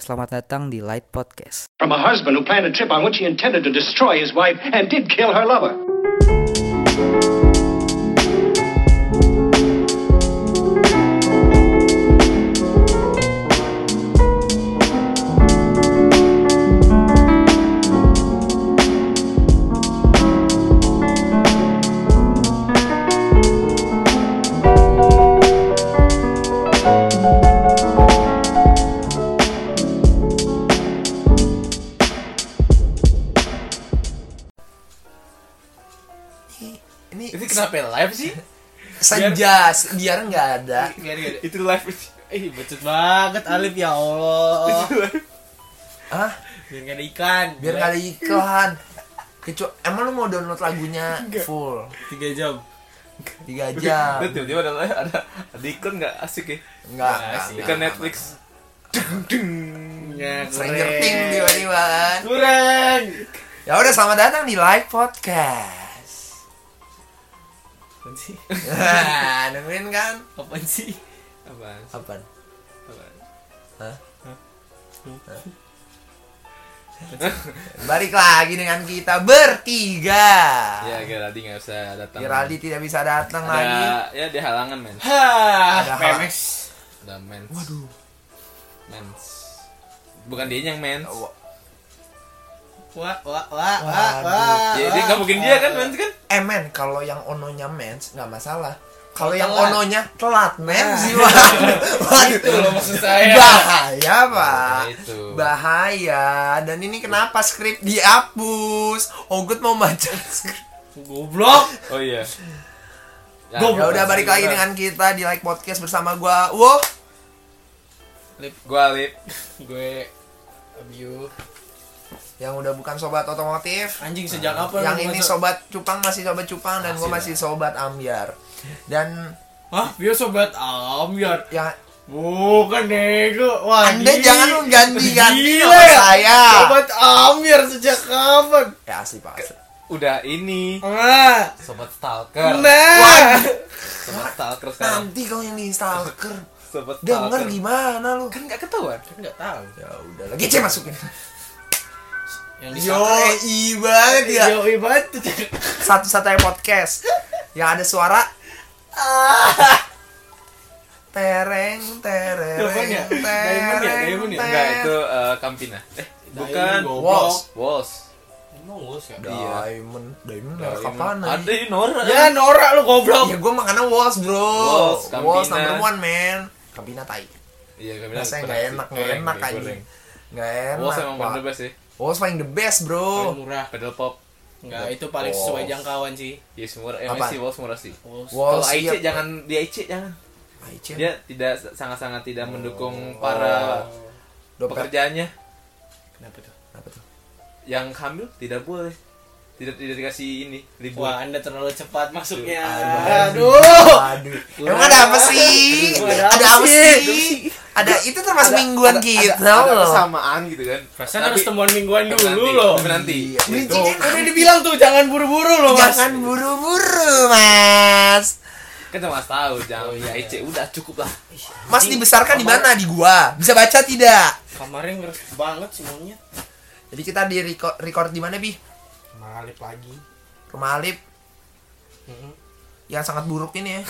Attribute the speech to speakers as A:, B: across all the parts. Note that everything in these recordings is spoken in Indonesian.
A: Selamat datang di Light Podcast.
B: from a husband who planned a trip on which he intended to destroy his wife and did kill her lover.
C: ini
D: Itu kenapa live sih?
C: senja biar nggak ada
D: Biar gak ada. Itu live Eh, becet banget Alif ya Allah.
C: ah
D: Biar gak ada ikan.
C: biar nggak ada iklan kecuali emang lu mau download lagunya full
D: 3 jam.
C: tiga jam
E: Lu tiba-tiba ada ada ada iklan nggak asik ya?
C: nggak
D: Nah, sih.
E: Iklan Netflix.
D: Ya,
C: Stranger
D: keren.
C: Things tiba-tiba kan
D: Kurang.
C: ya udah selamat datang di live podcast
D: Apaan sih?
C: Nah, dengerin kan
D: Apaan sih? Apaan?
C: apa
D: Apaan?
C: Hah?
D: Hah?
C: balik lagi dengan kita bertiga
D: Iya.
E: Ya, Geraldi nggak bisa datang.
C: Geraldi tidak bisa datang
E: ada,
C: lagi
E: ya dia halangan men.
D: Hah,
C: Ada hal-
D: PMX.
E: Ada mens. Waduh. Mens. Bukan dia yang mens.
D: Wah, wah, wah, wah,
C: Waduh.
D: wah.
E: Ya, dia nggak mungkin dia kan mens kan?
C: eh men kalau yang ononya mens nggak masalah kalau
D: Kalau
C: yang
D: telat.
C: ononya telat mens
D: Nah.
C: sih waduh
D: Itu
C: waduh
D: loh maksud saya.
C: bahaya pak
E: Ya, itu.
C: bahaya dan ini kenapa skrip dihapus Ogut mau baca skrip
D: Goblok.
E: Oh iya. Ya,
C: ya udah balik lagi dengan kita di like podcast bersama gua wow
E: Gue Alip.
D: Gue abyu.
C: yang udah bukan sobat otomotif
D: Anjing sejak kapan?
C: yang
D: lu
C: ini
D: masuk-
C: sobat cupang masih sobat cupang dan gua masih
E: Masih,
C: sobat ambiar dan ya,
D: Hah, dia sobat Amyar.
C: yang
D: Bukan nego. Wah,
C: anda
D: ini-
C: jangan mengganti-ganti
D: Gila
C: nama
D: ya.
C: saya
D: Sobat Amir sejak kapan?
C: ya asli pak asli.
E: Udah ini.
D: Nah,
E: Sobat stalker.
D: nah.
E: Sobat stalker sekarang.
C: nanti kalau yang di stalker
E: Sobat
C: denger
E: stalker.
C: gimana lu
E: Kan nggak ketahuan.
D: Enggak tahu.
C: ya udah lagi cek masukin
D: Yang
C: yo eh, i banget ya
D: Yo, eh, banget.
C: satu-satunya podcast yang ada suara tereng tereng
D: Telepon ya? Diamond ya? Diamond ya?
E: Enggak itu eh, Campina. Eh, bukan.
C: Walls.
E: Walls.
D: Emang Walls ya?
C: diamond diamond merek apaan
E: Ada
C: nih?
E: ya Nora.
D: Ya norak lu goblok.
C: ya gue makannya walls bro
E: Walls, Campina.
C: walls number one man kabina tai
E: Iya, kami
C: rasanya nggak enak nggak enak aja nggak
E: Walls
C: enak
E: emang
C: Pak.
E: paling the best sih.
C: walls paling the best
D: Paling
E: Oh.
C: bro
D: murah.
E: Pedal pop.
D: Enggak, itu paling sesuai
C: Walls.
D: jangkauan sih.
E: Iya, semua
C: Apaan?
E: emang sih Walls murah sih.
D: Walls.
C: Walls.
E: Kalau
C: iya.
E: IC jangan di IC jangan.
C: Ai, Cen.
E: Dia tidak sangat-sangat tidak
D: Oh.
E: mendukung para
C: dompet
E: pekerjaannya
D: Kenapa tuh?
C: apa tuh
E: yang hamil tidak boleh. Tidak tidak dikasih ini libur.
D: Wah, Anda terlalu cepat masuknya.
C: Aduh.
D: Aduh.
C: Aduh. Emang ada apa sih?
D: Aduh,
C: Ada,
D: ada
C: apa
D: apa
C: sih? Ada itu termasuk mingguan
E: Ada,
C: kita
E: ada
C: gitu, loh.
E: kesamaan gitu kan.
D: Perasaan
E: Tapi-
D: harus temuan mingguan
E: tapi
D: dulu
E: nanti,
D: loh.
E: Tapi nanti.
C: Iya,
D: Ini
C: betul.
D: kan udah dibilang tuh jangan buru-buru loh, Mas.
C: Jangan buru-buru, Mas.
E: Kan cuma tahu
D: Oh,
E: jangan
D: iya,
E: di IC udah cukup lah.
C: Mas dibesarkan di mana? Di gua. Bisa baca tidak?
D: Kamarnya ngeres banget semuanya.
C: Jadi kita di reco- record di mana, Bi?
D: Malip lagi.
C: Rumah Alip
D: Mm-hmm.
C: yang sangat buruk ini ya.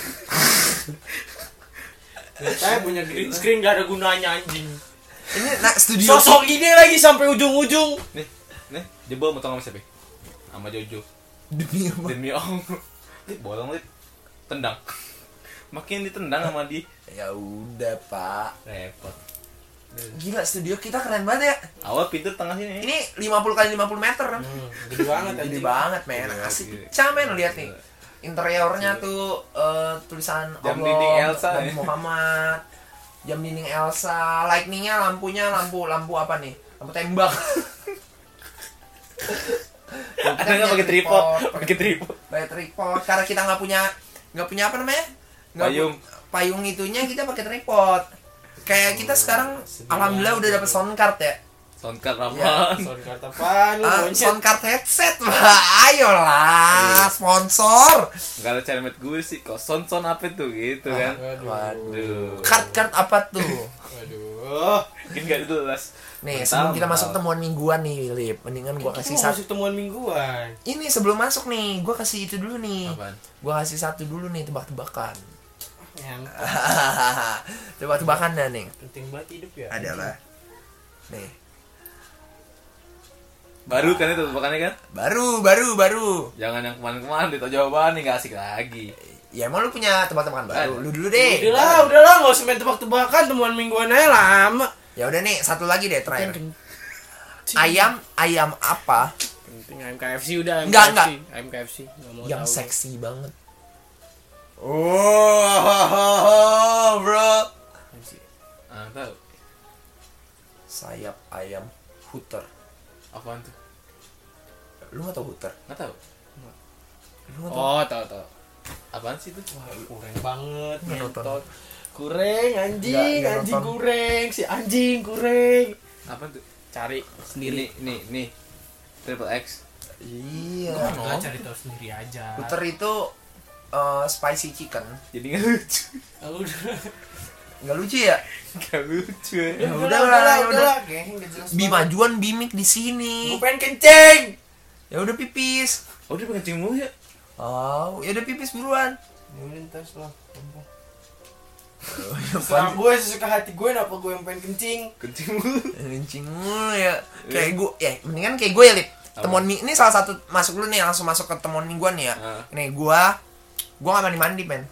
D: Saya punya green screen gak ada gunanya anjing.
C: Ini nah studio
D: Sosok ini lagi sampai ujung-ujung.
E: Nih, nih, jebol motong sama siapa? ya? Sama Jojo.
C: demi apa?
E: Demi Allah. Lip bolong lip. Tendang. Makin ditendang sama di
C: Ya udah, Pak.
E: repot.
C: Gila studio kita keren banget ya.
E: Awal pintu tengah sini.
C: Ini 50 kali 50 meter kan.
D: Hmm. Gede banget
C: Gede
D: anjing.
C: banget men,
E: Gila,
C: asik
E: gila.
C: pecah men lihat nih Interiornya tuh eh, tulisan
E: Nah, Jam
C: Allah,
E: dinding Elsa,
C: Nabi
E: ya.
C: Muhammad Jam dinding Elsa, lightningnya lampunya lampu lampu apa nih? Lampu tembak
E: Ada nggak pakai tripod? Pakai tripod.
C: Pakai tripod, karena kita nggak punya nggak punya apa namanya? Nggak pu-
E: Payung.
C: Payung itunya kita pakai tripod Kayak
E: Oh,
C: kita sekarang alhamdulillah udah dapet sound card ya
E: Soundcard
C: Iya.
E: apa?
D: Sound kartu apaan lu
C: Ah,
D: monyet?
C: Sound card headset, Pak. ayolah
E: Iya.
C: sponsor
E: Enggak ada cermet gue sih. Kok son-son apa tuh gitu kan.
D: Waduh.
C: Waduh.
E: Aduh.
C: Kart-kart apa tuh?
D: Waduh.
E: Oh, kan gak jelas.
C: Nih,
E: Mental,
C: sebelum kita
E: mental.
C: masuk temuan mingguan nih, Lip. Mendingan gua
F: Kita
C: kasih
F: mau
C: satu.
F: masuk temuan mingguan.
C: Ini sebelum masuk nih, gua kasih itu dulu nih.
E: Apaan?
C: Gua kasih satu dulu nih tebak-tebakan.
F: Yang
C: Tebak-tebakan dah nih.
F: Ya, penting banget hidup ya.
C: Adalah nih.
E: Baru kan itu tebakannya kan?
C: Baru, baru, baru.
E: Jangan yang kemarin-kemarin itu jawaban nih gak asik lagi.
C: Ya emang lu punya tebakan-tebakan baru. Lu dulu
D: Eh,
C: deh.
F: Udah lah, udah lah, Ya nggak usah main tebak-tebakan temuan mingguan aja lama.
C: Ya udah nih, satu lagi deh terakhir.
F: Penting
C: Ayam ayam apa
F: ayam KFC udah. ayam
C: Nggak,
F: KFC.
C: nggak.
F: Ayam KFC. nggak mau
C: yang
F: tahu.
C: seksi banget? Oh, bro.
F: KFC.
E: Ah, tahu.
C: Sayap ayam hooter.
E: Apaan tuh?
C: Lu nggak tau hooter?
E: Gak tahu.
C: Lu nggak tau?
F: Oh, tahu tahu.
E: Apaan sih itu?
F: Kurang banget
C: Nggak nonton.
F: ngentot. Kureng anjing,
C: Nggak, nggak
F: anjing
C: nonton.
F: kureng, si anjing kureng.
E: Apaan tuh?
F: Cari
E: Ini, nih, nih. Triple X.
C: Iya.
F: Nggak, cari tahu sendiri aja.
C: Hooter itu eh, spicy chicken.
E: Jadi gak lucu.
F: Oh, udah.
C: Nggak lucu ya?
E: Gak lucu ya.
C: Ya udah lah, ya udah.
F: Kayaknya nggak jelas
C: Bi
F: banget.
C: majuan bimik di sini.
F: Gua pengen kencing.
C: Ya udah pipis.
E: Oh, dia pengen cimul ya?
C: Oh, ya udah pipis buruan.
F: Melintas lah. Serah
C: Apaan sih?
F: gue sesuka hati gue kenapa gue yang pengen kencing.
E: Kencing mulu.
C: Kencing mulu ya. Kayak gue, ya mendingan kayak gue ya, Lip. Temuan mi ini salah satu masuk dulu nih langsung masuk ke temuan mingguan nih ya.
E: Ah.
C: Nih gua gua gak mandi mandi men.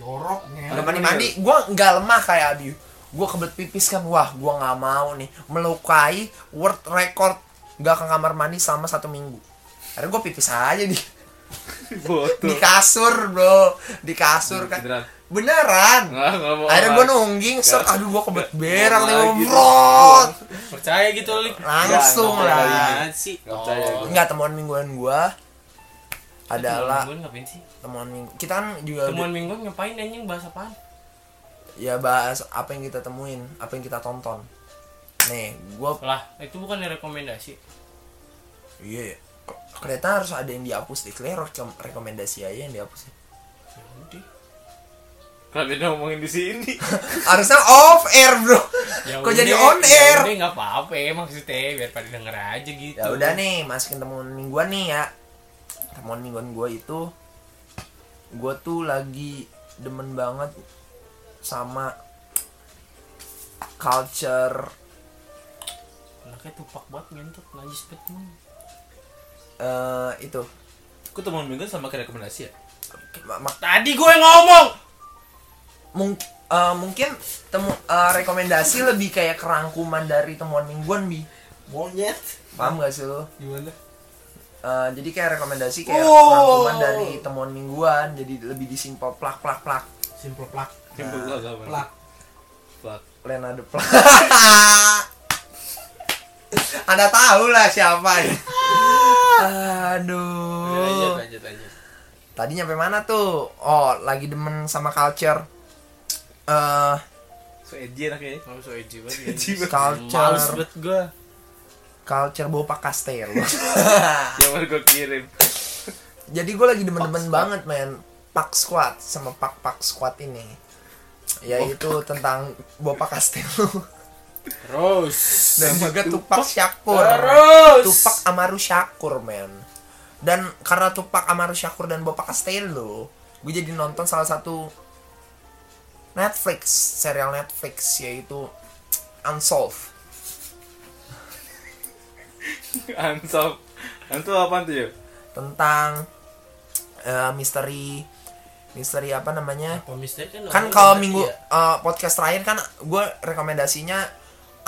F: Doroknya.
C: Gak mandi mandi, gua nggak lemah kayak Abi. Gua kebelet pipis kan, wah gua nggak mau nih melukai world record gak ke kamar mandi selama satu minggu. Akhirnya gua pipis aja di di
E: Botol.
C: kasur bro, di kasur
F: Nah,
C: kan.
E: Beneran.
C: Beneran.
E: Nggak, nggak
F: Oh,
E: mau.
C: Akhirnya gua
E: lagi.
C: nungging, set
E: Nggak.
C: aduh gua kebelet
E: Nggak,
C: berang nih,
E: nggak
C: gua
E: lagi.
C: brot.
F: Percaya gitu lu.
C: Langsung
E: Nggak, nggak
C: lah.
E: percaya.
F: sih.
E: Nggak percaya
F: Oh.
E: gue.
C: Enggak temuan mingguan gua adalah
F: Temuan mingguan ngapain sih?
C: temuan minggu. Kita kan juga
F: Temuan mingguan ngapain anjing bahas apaan?
C: ya bahas apa yang kita temuin, apa yang kita tonton. Nih, gua
F: Lah, itu bukan rekomendasi.
C: iya. ya. Ternyata harus ada yang dihapus deh. Kalian rekom- rekomendasi aja yang dihapus.
F: Yaudah.
E: Kenapa dia ngomongin di sini?
C: Harusnya off air, Bro.
F: Ya
C: Kok jadi on air?
F: Yaudah nggak apa-apa ya, maksudnya biar pada denger aja gitu.
C: Ya udah nih, masukin temuan mingguan nih ya. Temuan mingguan gua itu gua tuh lagi demen banget sama culture
F: Anaknya tupak banget ngentot najis banget. emang.
C: eh itu
E: Aku temuan minggu sama kayak rekomendasi ya?
C: Ma- ma-
F: Tadi gue ngomong.
C: mung- eh, mungkin temu eh, rekomendasi lebih kayak kerangkuman dari temuan mingguan bi
F: Monyet.
C: paham gak sih lo
F: Gimana?
C: Eh, jadi kayak rekomendasi kayak
F: Oh.
C: rangkuman dari temuan mingguan jadi lebih disimpel plak plak plak
F: Simple plak.
E: Simpel lah sama.
F: Plak.
E: Plak.
C: Lena de plak anda tahu lah siapa ya
F: Oh.
E: Ya,
F: Iya,
E: Lanjut,
C: aduh
E: lanjut, lanjut.
C: tadi nyampe mana tuh oh lagi demen sama culture eh
E: So edgy anaknya ya?
F: Kamu so edgy banget. ya.
E: Edgy banget.
F: Males
C: culture
F: banget gue.
C: culture bopak kastelo
E: Yang baru gue kirim.
C: Jadi gue lagi demen-demen banget men Pak Squad sama Pak Pak Squad ini Yaitu tentang Bopa Castello
F: Terus.
C: Dan juga Tupak Syakur
F: Terus.
C: Tupak Amaru Syakur men Dan karena Tupak Amaru Syakur dan Bopa Castello Gue jadi nonton salah satu Netflix Serial Netflix yaitu Unsolved
E: Ansop. Ansop apaan tuh ya?
C: Tentang eh, Misteri Misteri apa namanya
F: Apa misteri kan?
C: kan
F: orang
C: kalau
F: mati
C: minggu
F: ya?
C: eh, podcast terakhir kan gue rekomendasinya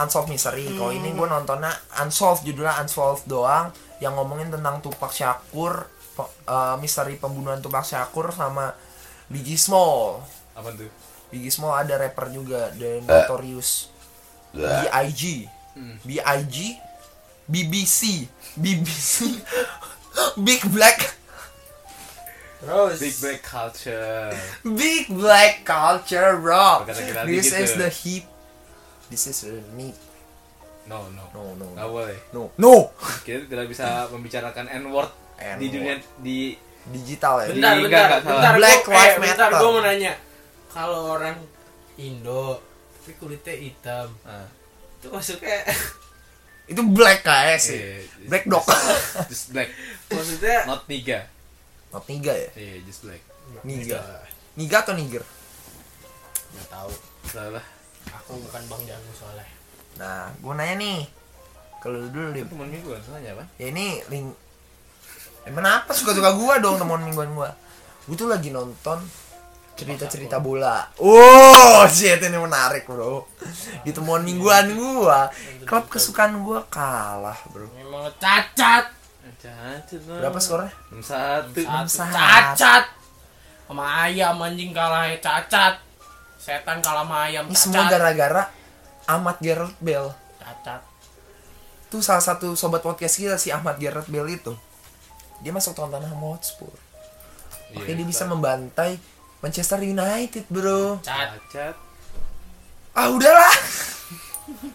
C: unsolved mystery kalau ini gue nontonnya unsolved judulnya unsolved doang yang ngomongin tentang Tupac Shakur pe- eh, misteri pembunuhan Tupac Shakur sama Biggie Small
E: Apaan tuh?
C: Biggie Small ada rapper juga dan Notorious B.I.G B.I.G BBC BBC Big Black
F: Terus.
E: Big Black Culture.
C: Big black culture, bro.
E: Kata kita tadi
C: This
E: gitu.
C: is the hip. This is the need.
E: No, no.
C: No, no, no.
E: Nggak boleh.
C: No. no.
E: Kita tidak bisa membicarakan N-word
C: N-word.
E: di dunia di
C: Digital ya.
F: Bentar,
E: Iya,
F: bentar,
E: nggak salah.
F: bentar,
C: Black
F: gua,
C: Lives
F: eh, bentar,
C: Matter.
F: gua mau nanya. Kalau orang Indo
D: tapi kulitnya hitam
E: Nah,
C: Ah.
D: itu masuknya
C: Itu black KS sih.
E: eh,
C: black dog.
E: just- Just black.
D: maksudnya
E: Not niga.
C: Not niga ya?
E: Iya, just black.
C: Niga. Niga atau niger?
F: nggak tahu
E: Salah.
F: aku bukan bang jago soalnya
C: Nah, gue nanya nih. Kalau lu dulu, Lim.
E: Temen mingguan salahnya apa?
C: Ya ini link Emang apa suka-suka gua dong temuan mingguan gua. Gua tuh lagi nonton cerita-cerita bola. Oh, shit ini menarik, Bro. Di temuan mingguan gua, klub kesukaan gua kalah, Bro.
F: memang cacat
E: Cacat lah.
C: Berapa skornya?
E: 61.
C: Satu.
F: cacat sama ayam anjing kalah ya. cacat setan kalah sama ayam
C: Ini semua
F: cacat
C: gara-gara Ahmad Gerald Bell.
F: cacat
C: Tuh salah satu sobat podcast kita si Ahmad Gerald Bell itu. Dia masuk Tottenham Hotspur.
E: Iya,
C: Oke, dia bisa membantai Manchester United, Bro.
F: cacat
E: Cacat.
C: ah udahlah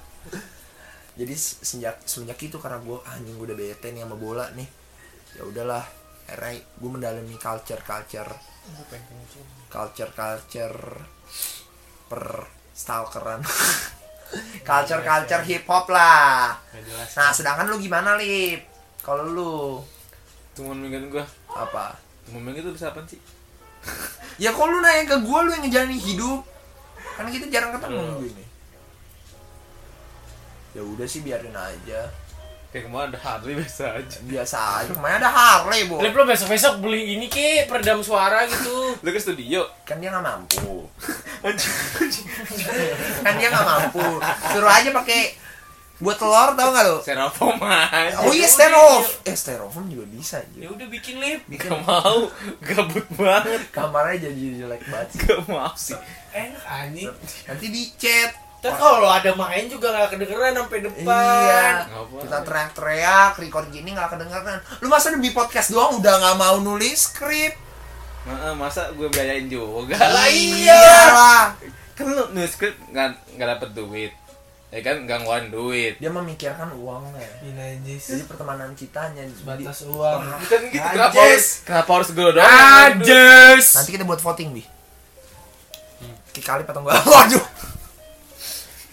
C: jadi se- semenjak semenjak itu karena gue anjing gue udah bete nih sama bola nih ya udahlah akhirnya gue mendalami culture culture culture culture per stalkeran culture culture hip hop lah nah sedangkan lu gimana lip kalau lu
E: Temen mingguan gua.
C: apa
E: Temen mingguan itu bisa apa sih?
C: ya kok lu nanya ke gue lu yang ngejalanin hidup kan kita jarang ketemu gini ya udah sih biarin aja
E: Kayak kemarin ada Harley biasa aja.
C: biasa aja kemarin ada Harley bu
F: Lip lo besok-besok beli ini ki peredam suara gitu
E: Lu ke studio.
C: kan dia nggak mampu kan dia nggak mampu suruh aja pakai buat telur tau nggak lo
E: Serafom aja.
C: oh iya styrofoam eh styrofoam juga bisa
F: ya
C: aja
F: udah bikin lip
C: bikin
E: Gak mau. Gabut banget.
C: kamarnya jadi jelek banget sih.
E: Gak mau sih.
F: enak anjing
C: nanti dicet
F: Ntar kalau lo ada main juga gak kedengeran sampai depan
C: iya
E: Nggak apa-apa.
C: kita teriak-teriak record gini nggak kedengeran lu masa demi podcast doang udah nggak mau nulis skrip Iya
E: Nah, masa gue biayain juga
F: Lah
E: iya.
C: lah
E: kan lu nulis script nggak nggak dapet duit ya kan nggak ngeluarin duit
C: dia memikirkan uangnya jadi pertemanan kita hanya di- Nah,
F: batas uang
E: bukan gitu kenapa
C: Anjis.
E: harus kenapa harus gue doang
C: Nanti kita buat voting, Bi. Kali atau enggak? Waduh.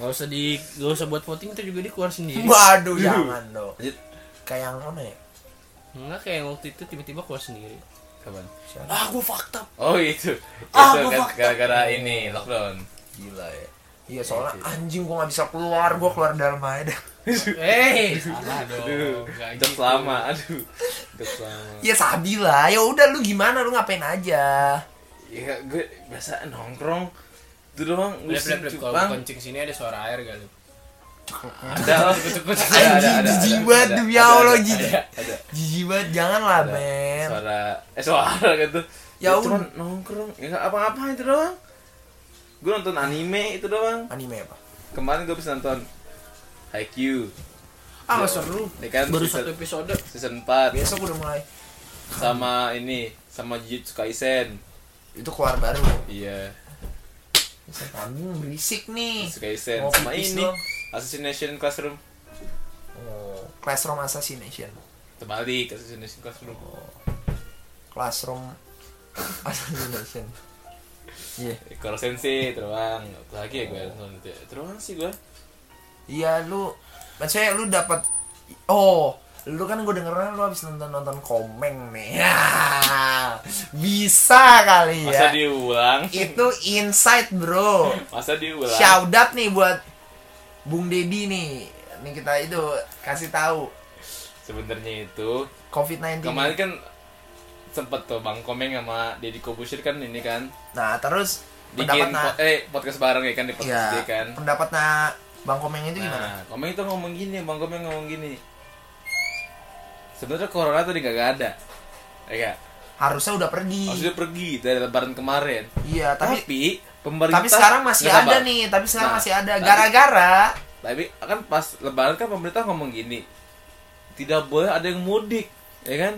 F: Gak usah di gak usah buat voting itu juga dia keluar
C: Iya.
F: sendiri
C: Waduh, jangan dong.
E: Lanjut.
C: Kayak yang mana ya?
F: Enggak kayak yang waktu itu tiba-tiba keluar sendiri
E: kapan
F: Ah gue fucked up
E: oh itu
C: Ah,
E: itu
C: gua
E: kan
C: fakta.
E: gara-gara ini lockdown
C: Gila ya. Iya, soalnya anjing gua nggak bisa keluar, gua keluar dalam aja. dah.
F: Eh
C: Oh,
F: salah dong Gak
E: jam
C: gitu.
E: lama aduh jam lama
C: Iya, sabi lah. Ya udah lu gimana? Lu ngapain aja?
E: ya gue biasa nongkrong itu doang
F: Lip lip
E: ngurusin
F: lip kalau
E: cupang
F: kencing sini ada suara air gak lip
E: ada lah ada ada
C: Anjing
E: ada
C: jijik
E: ada,
C: banget
E: ada,
C: demi
E: ada,
C: Allah
E: ada,
C: jijik.
E: ada, ada
C: Jijik banget, jangan lah,
E: Ada.
C: men.
E: suara eh suara gitu
C: Ya
E: ya, cuman nongkrong ya nggak apa-apa itu doang gue nonton anime itu doang
C: Anime apa?
E: kemarin gue bisa nonton Haikyuu
F: Ah gak seru
E: ya kan
F: Baru
E: season,
F: satu episode
E: season 4
C: Besok udah mulai.
E: sama ini sama Jujutsu Kaisen
C: Itu keluar baru.
E: iya
C: Anjing berisik nih.
E: Jujutsu Kaisen
C: Mau
E: sama
C: pipis
E: ini
C: dong.
E: Assassination Classroom
C: Oh, Classroom Assassination.
E: terbalik Assassination Classroom
C: Classroom Assassination. Iya.
E: Ikoro Sensei teruang Apa lagi ya gue nonton itu ya? teruang sih gue
C: Iya lu Maksudnya lu dapat Oh Lu kan gue dengerin lu habis nonton-nonton komeng nih Ya, Bisa kali ya
E: masa diulang
C: Itu insight bro
E: masa diulang
C: Shout out nih buat Bung Deddy nih Nih kita itu Kasih tahu
E: sebenarnya itu
C: COVID-19
E: kemarin kan sempet tuh Bang Komeng sama Deddy Kobusir kan ini kan
C: Nah terus Pendapat
E: bikin
C: nah
E: po- eh podcast bareng ya kan di podcast
C: Ya
E: dia kan
C: Pendapat nah Bang Komeng itu gimana?
E: Nah, Komeng itu ngomong gini, Bang Komeng ngomong gini. Sebenarnya corona tadi nggak ada. Ya nggak?
C: Harusnya udah pergi
E: Maksudnya pergi dari lebaran kemarin.
C: Iya
E: Tapi,
C: tapi
E: pemerintah
C: Tapi sekarang masih
E: nggak
C: ada
E: sabar.
C: nih Tapi sekarang
E: Nah,
C: masih ada
E: tapi-
C: Gara-gara
E: Tapi kan pas lebaran kan pemerintah ngomong gini. Tidak boleh ada yang mudik, ya kan?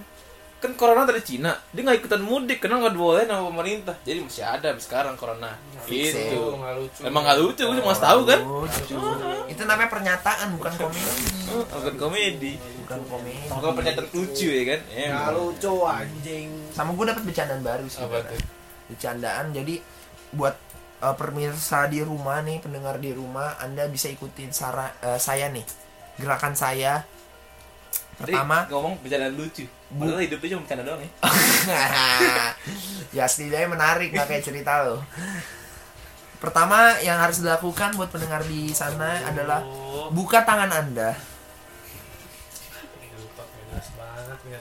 E: Kan corona dari Cina, dia nggak ikutan mudik karena nggak boleh sama pemerintah. Jadi masih ada sampai sekarang corona.
C: fix ya.
E: Gitu.
F: Nggak lucu.
E: Emang nggak lucu, gue cuma tahu kan?
C: Lucu. Itu namanya pernyataan bukan komedi.
E: Eh, Bukan komedi.
C: Bukan komedi.
E: Bukan pernyataan lucu ya kan? Ya,
D: Nggak lucu anjing
C: Sama gue dapat bercandaan baru sih.
E: Apa tuh?
C: Bercandaan jadi buat eh, pemirsa di rumah nih, pendengar di rumah, Anda bisa ikutin sara, eh, saya nih. Gerakan saya pertama
E: Tadi ngomong bercandaan lucu padahal hidup tuh cuma bercanda doang ya
C: ya setidaknya menarik nggak kayak cerita lo pertama yang harus dilakukan buat pendengar di sana adalah buka tangan anda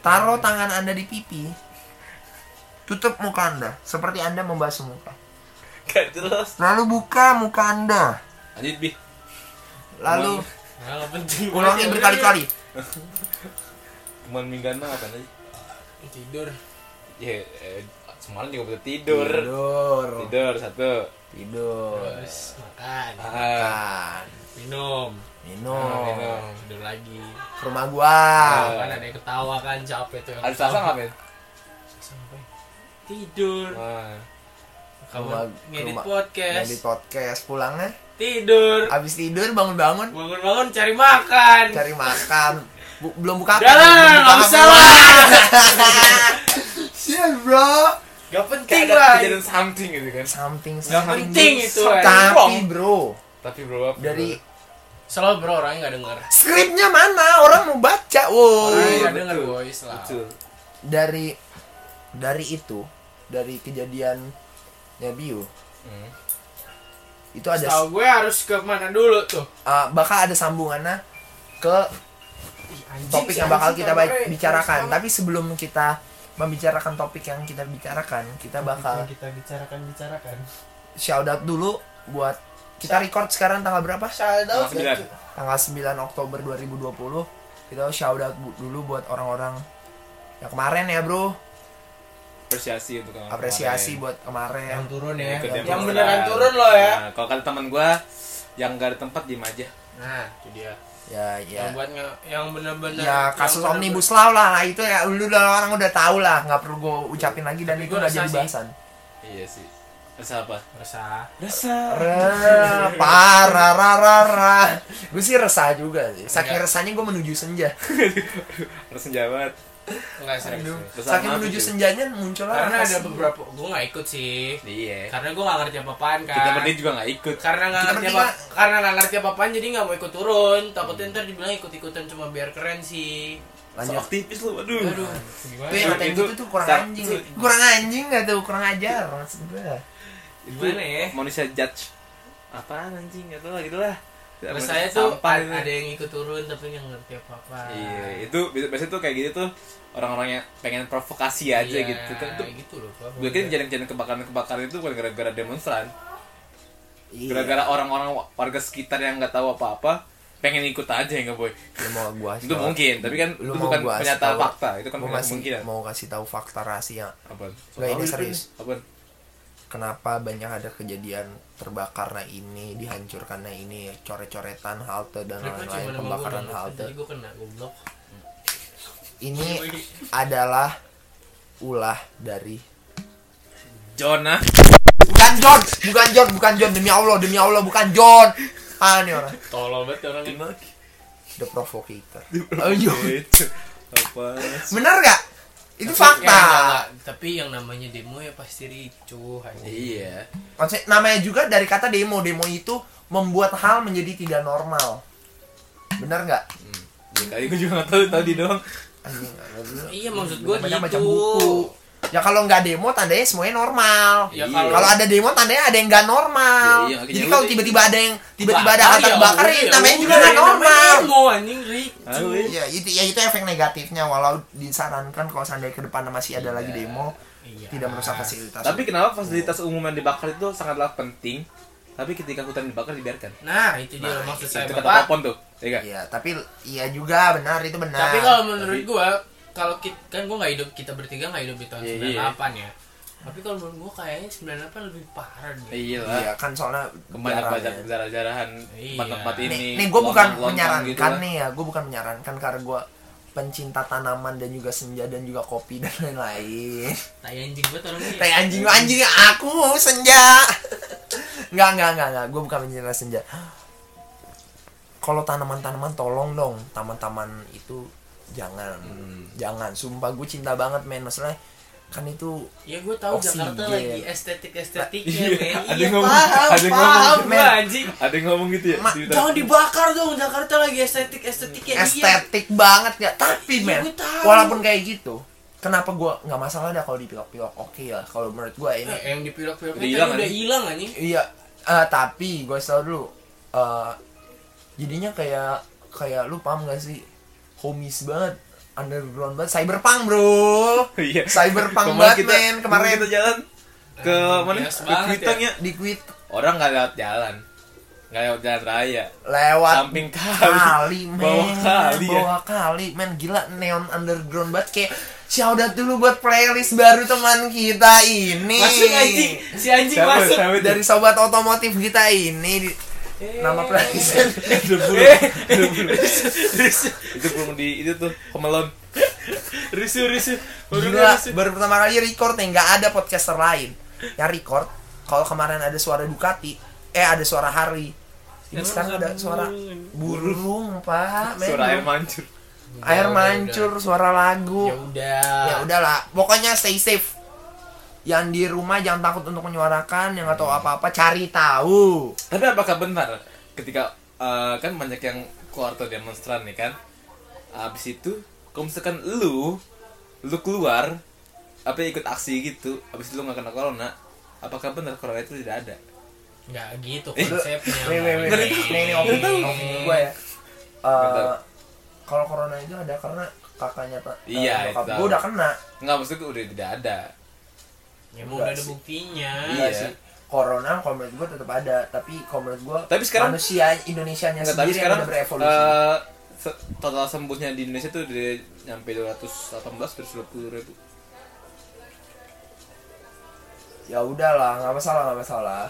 C: taruh tangan anda di pipi tutup muka anda seperti anda membasuh muka
E: gak jelas
C: lalu buka muka anda
E: lanjut bi
C: lalu
F: Nggak penting
C: ulangi berkali-kali
E: cuman minggana apa aja
F: Tidur
E: ya eh, semalam juga bisa tidur
C: Iya, tidur
E: tidur satu
C: tidur
F: Terus makan
E: ah,
C: Makan.
F: Minum
C: minum
E: minum.
F: Tidur lagi
C: ke rumah gua
E: Ah.
F: Kan ada yang ketawa kan capek tuh yang
E: ada sasa
F: ketawa.
E: ngapain
F: Sampai Tidur
E: Ah.
F: Kamu
C: Rumah-
F: ngedit
C: rumah-
F: podcast
C: Jadi podcast pulangnya
F: Tidur
C: Abis tidur bangun-bangun
F: Bangun-bangun cari makan
C: cari makan Bu- belum buka
F: Udah lah,
C: belum buka
F: nggak
C: apa-
F: usah lah.
C: Shit bro
F: Gak
E: kayak
F: penting
E: ada
F: lah
E: kejadian something gitu kan
C: Something
E: Nggak
C: something
F: penting
C: good.
F: itu,
C: Tapi
E: eh.
C: bro
E: tapi bro apa?
C: Dari
F: Selalu bro orangnya gak denger
C: skripnya mana orang mau baca wow
F: Orangnya
E: Iya,
F: gak denger
E: betul.
F: boys lah
E: Betul.
C: Dari Dari itu Dari kejadian Bio
E: Hmm.
C: Itu ada
F: Tahu gue harus ke mana dulu tuh
C: eh, Bakal ada sambungannya Ke topik yang bakal kita ba- bicarakan. Tapi sebelum kita membicarakan topik yang kita bicarakan, kita bakal
D: kita bicarakan bicarakan
C: shout out dulu buat kita record sekarang tanggal berapa?
E: Tanggal sembilan.
C: Tanggal 9 Oktober 2020. Kita shout out bu- dulu buat orang-orang yang kemarin ya, Bro.
E: apresiasi untuk kamu
C: Apresiasi buat
D: yang
C: kemarin.
D: turun ya
E: Ikut
D: yang,
E: dia
D: yang
E: makan.
D: beneran turun loh ya
E: Nah, kalau kata teman gua yang gak ada tempat diem aja
F: Nah itu dia
C: Ya, ya.
F: Yang buat nge- yang bener-bener
C: Ya kasus omnibus law lah Nah, itu ya lu udah orang udah tahu lah nggak perlu gue ucapin lagi dan
F: Tapi
C: itu
F: gua
C: udah
F: resah
C: jadi
F: sih.
C: bahasan.
E: iya sih rasa apa
F: Resah
E: rasa
C: Re- parah rara gue sih resah juga sih saking
E: Iya.
C: resahnya gue menuju senja
E: rasa jawab
F: Enggak
E: Iya.
F: sering
C: saking menuju senjanya muncul
F: Karena ada beberapa Gue gak ikut sih
E: iya
F: Karena gue gak ngerti apa-apaan kan
E: kita berdua juga gak ikut
F: karena nggak
C: Kita
F: ngerti apa
C: bertiga-
F: karena nggak ngerti apa-apaan jadi nggak mau ikut turun takutnya ntar dibilang ikut-ikutan cuma biar keren sih
E: so
C: lanjut
E: aktivis lu aduh
F: aduh gimana ya?
C: Tapi yang kayak
E: Itu-
C: gitu tuh kurang
E: sa-
C: anjing
E: itu-
C: kurang anjing gak tuh kurang ajar maksud gue
F: Gimana ya?
E: manusia judge apaan anjing gak tau lah gitu lah
F: terus
E: Manusia
F: saya tuh
E: sampah
F: ada
E: gitu.
F: ada yang ikut turun tapi nggak ngerti apa-apa
E: iya itu biasa- biasanya tuh kayak gitu tuh orang-orang yang pengen provokasi aja
F: Iya,
E: gitu kan tuh
F: gitu loh Pak.
E: gue kira kejadian-kejadian kebakaran-kebakaran itu bukan gara-gara demonstran
C: iya
E: gara-gara orang-orang wa- warga sekitar yang nggak tahu apa-apa pengen ikut aja nggak boy
C: Lu mau gue
E: itu mungkin tapi kan itu bukan pernyataan fakta itu kan
C: mau
E: bukan
C: kasih
E: kemungkinan
C: mau kasih tahu fakta rahasia
E: apa
C: Nggak, ini serius.
E: apa
C: kenapa banyak ada kejadian terbakar nah ini dihancurkan nah ini coret-coretan halte dan
F: Mereka cuma
C: lain-lain
F: nama
C: pembakaran
F: gue
C: halte
F: Tadi gue kena goblok
C: ini adalah ulah dari
E: Jonah
C: bukan John bukan John bukan John demi Allah demi Allah bukan John ah ini orang
F: Tolol banget orang
E: Nah.
F: ini
C: the provocator Ayo.
E: itu apa
C: bener gak itu
F: Tapi
C: fakta
F: kayak nggak- Tapi yang namanya demo ya pasti ricuh anjing.
E: iya
C: Maksudnya, namanya juga dari kata demo demo itu membuat hal menjadi tidak normal bener nggak
E: ya kali gue juga nggak tahu tadi doang
C: Anjing, nggak bener.
F: Iya maksud gue gitu
C: Namanya macam buku ya kalau nggak demo tandanya semuanya normal
F: Ya,
E: Iya.
C: kalau ada demo tandanya ada yang nggak normal
E: Ya, iya, makanya
C: jadi
E: lu-
C: kalau tiba-tiba ada yang tiba-tiba ada
F: Bakar,
C: harta
F: ya
C: bakar
F: udah,
C: ya,
E: iya,
F: ya
C: namanya juga
F: udah,
C: nggak
F: ya namanya
C: normal
F: demo, anjing ricuh
E: Halo,
C: ya itu ya itu efek negatifnya walau disarankan kalau seandainya ke depan masih ada lagi demo
F: Iya.
C: tidak merusak fasilitas
E: tapi kenapa fasilitas umum yang dibakar itu sangatlah penting tapi ketika hutan dibakar dibiarkan
F: Nah, itu dia maksud saya,
E: itu kata
F: Bapak.
E: Popon tuh ya kan
C: Iya, tapi iya juga benar itu benar
F: Tapi kalau menurut gua, kalau kita kan gua nggak hidup kita bertiga nggak hidup di tahun
E: Iya,
F: 98 ya. Tapi kalau menurut gua kayaknya 98 lebih parah deh.
E: iya lah
C: iya kan soalnya
E: banyak
C: jarang
E: banyak
C: ya.
E: jarah-jarahan
F: Iya.
E: tempat-tempat ini
C: nih, gue bukan
E: lontang-lontang
C: menyarankan
E: gitu lah.
C: nih ya gue bukan menyarankan karena gue pencinta tanaman dan juga senja dan juga kopi dan lain-lain
F: Tai anjing banget Nah, orang ini.
C: kayak anjing anjing aku senja nggak nggak nggak nggak gue bukan mencinta senja kalau tanaman-tanaman tolong dong taman-taman itu jangan jangan sumpah gue cinta banget men maksudnya kan itu
F: Ya gue tahu
C: Oksigen.
F: Jakarta lagi estetik-estetiknya,
E: Iya,
F: men.
E: ada
F: Iya,
E: yang ngomong-
F: paham,
E: ada yang ngomong, gitu,
F: paham gue
E: men.
F: anjing.
E: Ada yang ngomong gitu ya?
C: Ma,
E: Di Twitter?
F: Jangan Oh, dibakar dong, Jakarta lagi estetik-estetiknya.
C: estetik banget ya tapi
F: Iya,
C: men
F: gue tahu.
C: walaupun kayak gitu kenapa gua nggak masalah dah kalau dipilok-pilok oke lah kalau menurut gua
F: Iya.
C: ini
F: Eh, yang dipilok-pilok
E: Udah hilang,
F: tadi udah
E: anjing.
F: hilang anjing.
C: iya eh, tapi gua selalu dulu eh, jadinya kayak kayak lu paham gak sih homies banget underground banget cyberpunk bro
E: Iya.
C: cyberpunk
E: Kemarin
C: banget
E: kita-
C: men kemarin Eh, iya,
E: kita jalan ke mana?
F: bias
E: Ke
F: banget
E: Kuitang ya.
C: di quit
E: Orang nggak lewat jalan. Nggak lewat jalan raya.
C: lewat
E: Samping kali.
C: kali men
E: Bawah kali ya.
C: Bawah kali, men gila neon underground banget kayak shout out dulu buat playlist baru teman kita ini
F: Masuk anjing, si anjing
E: Siapa?
F: masuk.
E: Siapa itu?
C: dari sobat otomotif kita ini di-
E: Eh.
C: nama playlist
E: Itu belum. Itu belum. Itu belum di itu tuh Home Alone.
F: Risu risu.
C: gila baru pertama kali record nih nggak ada podcaster lain yang record kalau kemarin ada suara Ducati eh ada suara Harley ini sekarang ada suara burung pak men.
E: Suara air ya mancur.
C: air mancur suara lagu
F: Ya udah.
C: ya udahlah pokoknya stay safe yang di rumah jangan takut untuk menyuarakan yang nggak
E: Hmm.
C: tahu apa-apa cari tahu
E: Tapi apakah benar ketika eh, kan banyak yang keluar atau demonstran nih kan? Abis itu kalau misalkan lu lu keluar apa ikut aksi gitu, abis itu lu nggak kena corona, apakah benar corona itu tidak ada?
F: Enggak gitu
E: Eh,
F: konsepnya. gitu.
C: Nih, nih, nih,
E: Ngeri
C: nih,
E: tuh.
C: nih, nih, opini-
E: Ngeri tuh.
C: opini gua ya Eh,
E: Bentar.
C: kalau corona itu ada karena kakaknya pak
E: Iya, itu tahu.
C: gue udah kena
E: Nggak maksudnya udah tidak ada.
F: Ya emang udah ada buktinya.
E: Iya.
C: sih. corona kalau menurut gue tetap ada tapi kalau menurut gue
E: Tapi sekarang-
C: manusia Indonesia nya
E: Nggak, tapi
C: sendiri
E: sekarang
C: yang udah berevolusi
E: eh, se- total sembuhnya di Indonesia tuh udah nyampe 218 terus 20 ribu.
C: ya udahlah nggak masalah nggak masalah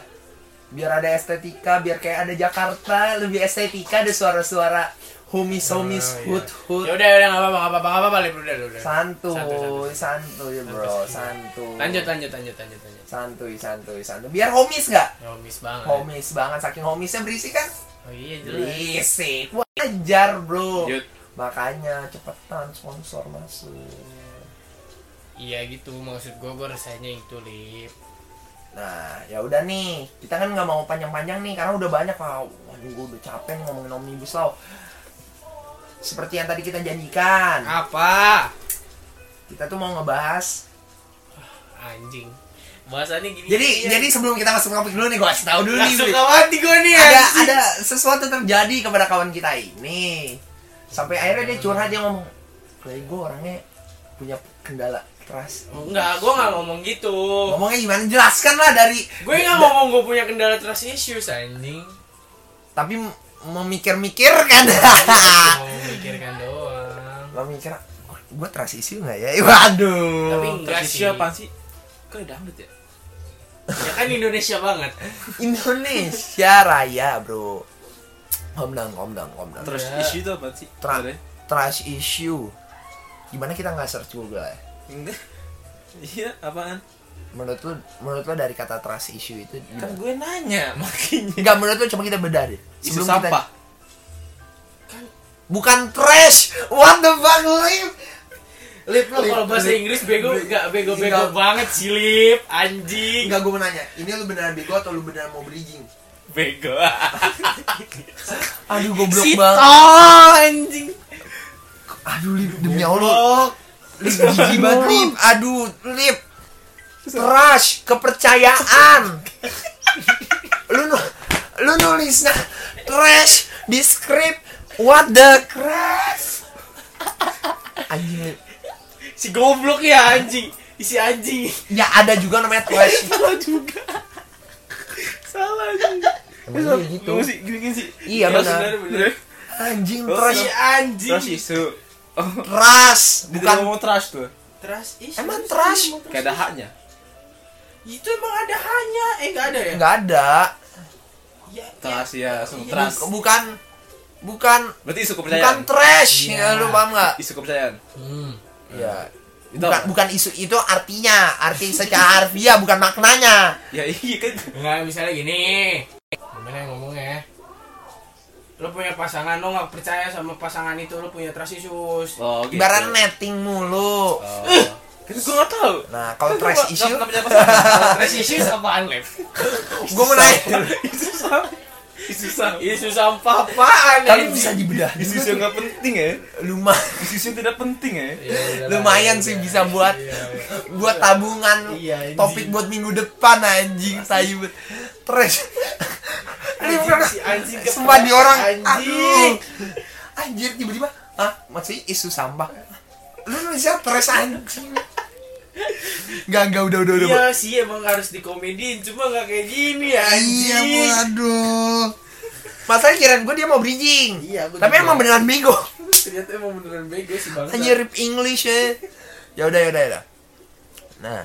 C: biar ada estetika biar kayak ada Jakarta lebih estetika ada suara-suara homies homies hood hood
F: Ya udah ya udah enggak apa-apa, enggak apa-apa, enggak apa-apa, Lip, udah, udah.
C: santuy santuy bro santuy
F: Lanjut lanjut lanjut lanjut lanjut.
C: santuy santuy santuy biar homies nggak
F: Ya miss banget.
C: homies banget saking homiesnya berisik kan
F: Oh iya jelas.
C: berisik wajar bro
E: Yud.
C: makanya cepetan sponsor masuk
F: Iya gitu maksud gue gue rasanya itu lip.
C: nah ya udah nih kita kan nggak mau panjang-panjang nih karena udah banyak lah waduh gue udah capek nih ngomongin omnibus law seperti yang tadi kita
F: Ah.
C: janjikan
F: Apa?
C: kita tuh mau ngebahas
F: Anjing. Bahasannya gini.
C: jadi jadi sebelum kita masuk topik dulu nih gue kasih tahu dulu nih
F: langsung kawati gue nih.
C: ada
F: anjing.
C: ada sesuatu terjadi kepada kawan kita ini sampai akhirnya dia curhat dia ngomong kayak gue orangnya punya kendala trust
F: Enggak, gue nggak ngomong gitu.
E: Oh.
C: ngomongnya gimana jelaskan lah dari
F: Gue nggak ngomong gue punya kendala trust issues anjing.
C: tapi memikir-mikir kan
F: Mau mikirkan doang.
C: memikir gue trust issue nggak ya waduh
F: Tapi enggak
E: Transisi
F: sih.
E: Oh, apaan sih? Kok ada dangdut ya?
F: Ya kan Indonesia banget.
C: Indonesia raya bro Komdang, komdang, komdang
E: Terus
F: Ada.
E: isu itu apa sih?
C: Tra-
E: Sebenarnya?
C: Trust issue Gimana kita nggak search Google ya?
E: Enggak. Iya, apaan?
C: Menurut lu, menurut lu dari kata trust issue itu
E: Kan gue nanya makanya.
C: Enggak, menurut lu coba kita bedah deh
E: Isu
C: Sebelum Iya, kita-
E: sampah.
C: Bukan trash What the fuck, Lip? Lip,
F: Lo kalau bahasa Inggris bego enggak bego-bego
E: Iya.
C: Enggak.
F: banget sih lip anjing.
C: Enggak, gue mau nanya Ini lu beneran bego atau lu beneran mau bridging?
E: Bego.
C: Aduh, goblok
F: Sito
C: banget
F: anjing.
C: Aduh, Lip, demi Allah Lip, gigi banget, Lip Aduh, Lip Trash, kepercayaan Lu, nu- lu nulisnya Trash, di script What the crap Anjing, Lip
F: Si goblok ya anjing. Isi anjing.
C: Ya, ada juga namanya trash
F: Salah juga. Salah juga.
C: Emang iya gitu
E: Gimana sih? Gini-gini sih.
C: Iya,
E: Terus
C: benar.
E: benar, benar.
C: Anjing,
E: Terus
C: trash
F: Si anjing.
E: Terus isu. Oh,
C: Ras,
E: dia tidak
C: bukan
E: mau trash tuh.
F: Trust issue.
C: Emang trust?
E: Kayak ada haknya.
C: Iya.
F: Itu emang ada hanya eh enggak ada ya?
C: nggak ada.
F: Ya,
E: Trash ya, langsung
F: Iya.
E: trash.
C: Bukan bukan
E: Berarti isu
C: bukan
E: kepercayaan.
C: trash. Ya,
F: Iya.
C: lu paham nggak?
E: Isu kepercayaan.
F: Hmm.
C: Iya.
E: Itu
C: Bukan,
E: apa?
C: bukan isu itu artinya, arti secara harfiah bukan maknanya.
E: Ya iya kan.
F: Enggak, misalnya gini. Gimana yang ngomong ya? Lo punya pasangan, lo nggak percaya sama pasangan itu, lo punya trust issues.
E: Oh, gitu.
C: Ibarat netting mulu.
E: Oh. Kan gue nggak tahu.
C: Nah, kalau
E: Kan gua
C: trash
E: nggak-
C: issue,
E: nggak punya pasangan.
F: Trash issues apaan, Lev?
C: gue mau nanya.
E: Isu sampah. Isu sampah.
F: Isu sampah apaan,
C: Tapi
F: anjing?
C: bisa dibedah.
E: Isu yang nggak penting ya.
C: Lumayan,
E: Isu yang tidak penting ya.
C: Iya.
F: Ya, udah lah.
C: lumayan sih bisa buat buat tabungan
D: Iya, anjing.
C: topik buat minggu depan anjing tai bet. Trash. Ini bukan-
D: si anjing kepala-
C: Sumpah di orang
D: anjing
C: anjing. Anjir tiba-tiba, ah masih isu sampah. Lu nulisnya trash anjing. Enggak, enggak udah udah udah.
D: iya sih emang harus dikomedin cuma nggak kayak gini
C: Iya,
D: anjing
C: waduh. Masalahnya kiraan gue dia mau bridging.
D: Iya, gua
C: Tapi
D: juga.
C: emang beneran bego.
D: ternyata emang beneran bego sih bang
C: Hanya rip English ya. Ya udah, ya udah, ya udah. Nah,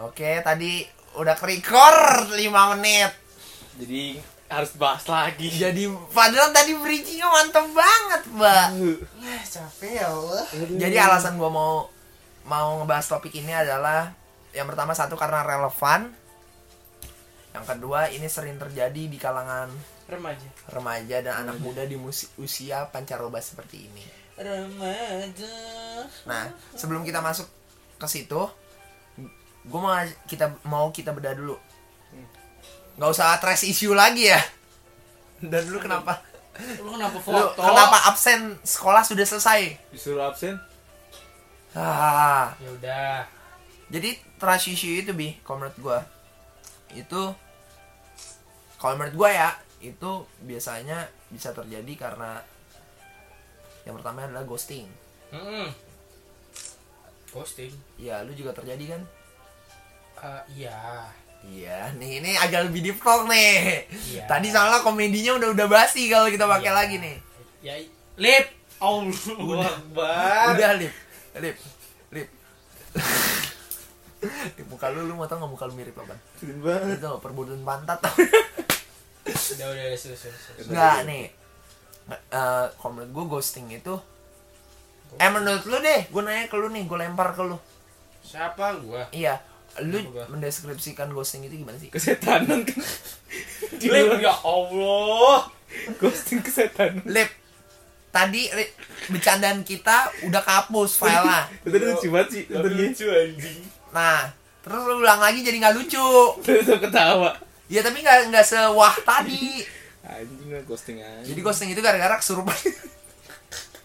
C: Oke, tadi udah ke-record 5 menit.
E: Jadi harus bahas lagi.
C: Jadi padahal tadi bridgingnya mantep banget, Mbak.
D: capek ya Allah
C: Jadi alasan gua mau mau ngebahas topik ini adalah yang pertama satu karena relevan. Yang kedua ini sering terjadi di kalangan
D: remaja
C: remaja dan anak muda di musi- usia pancaroba seperti ini.
D: remaja
C: Nah, sebelum kita masuk ke situ, gue mau kita mau kita bedah dulu. Gak usah trash issue lagi ya. Dan lu kenapa?
F: Lu kenapa
C: Lu
F: foto?
C: kenapa absen sekolah sudah selesai?
E: Disuruh absen.
C: Ah,
F: Ya udah.
C: jadi trash issue itu bi, kalau menurut gue itu kalau menurut gue ya itu biasanya bisa terjadi karena yang pertama adalah ghosting.
F: Mm-mm. Posting.
C: Ya, lu juga terjadi kan?
F: Ah, iya.
C: Iya, nih ini agak lebih deep talk nih.
F: Iya.
C: Tadi soalnya komedinya udah udah basi kalau kita pakai
F: Iya.
C: lagi nih.
F: Ya, i- lip.
D: Allah Akbar
C: Udah lip, lip, lip. Di muka lu, lu mau tau gak muka lu mirip apa?
E: Sedih banget.
C: Itu perburuan Gitu, pantat tau
F: Udah, udah, udah, sudah, sudah, sudah.
C: Nggak nih Eh, Kalau menurut gue ghosting itu Eh menurut lu deh, gue nanya ke lu nih, gue lempar ke lu
F: Siapa gua?
C: Iya, lu
F: Apa gua?
C: mendeskripsikan ghosting itu gimana sih?
E: Kesetanan kan.
F: Lip, ya Allah.
E: Ghosting kesetanan.
C: Lip, tadi Lip, bercandaan kita udah kehapus filenya
E: Itu tadi lucu banget
F: Iya,
E: sih. Itu
D: Tapi
E: tadi.
D: lucu anjing
C: Nah, terus lu ulang lagi jadi nggak lucu.
E: Terus aku ketawa.
C: Ya tapi nggak nggak sewah tadi.
E: Anjing lah ghosting aja.
C: Jadi ghosting itu gara-gara kesurupan.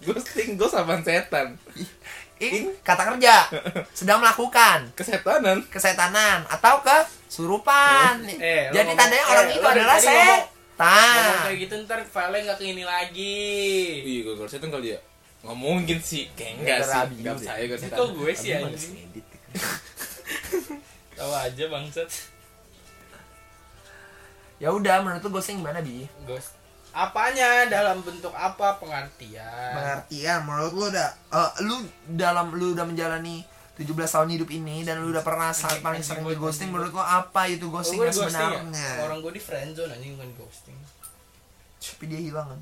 E: ghosting ghost apaan setan?
C: Ing kata kerja sedang melakukan
E: Kesetanan.
C: kesetanan atau kesurupan.
F: Eh, eh,
C: jadi
F: lo ngomong-
C: tandanya orang
F: eh,
C: itu
F: lo dari
C: adalah
F: tadi ngomong- Ngomong kayak
C: setan.
F: gitu ntar file nggak ke ini lagi.
E: Iya, gue kalau setan kali ya. Nggak mungkin sih. Kayak enggak
C: Gara-gara
E: sih.
C: abuse
E: Enggak
C: ya.
E: percaya gue
F: Itu
E: setan.
F: gue sih anjing. Tahu aja bangsat.
C: Ya udah menurut lu ghosting gimana bi?
F: Ghost. Apanya dalam bentuk apa pengertian?
C: Pengertian ya, menurut lu udah eh, lu dalam lu udah menjalani 17 tahun hidup ini dan lu udah pernah sa- paling sering di ghosting menurut lu apa itu ghosting
F: Gua
C: yang
F: ghosting ya?
C: sebenarnya?
F: Orang gue di friendzone anjing bukan ghosting.
C: Tapi dia hilang kan?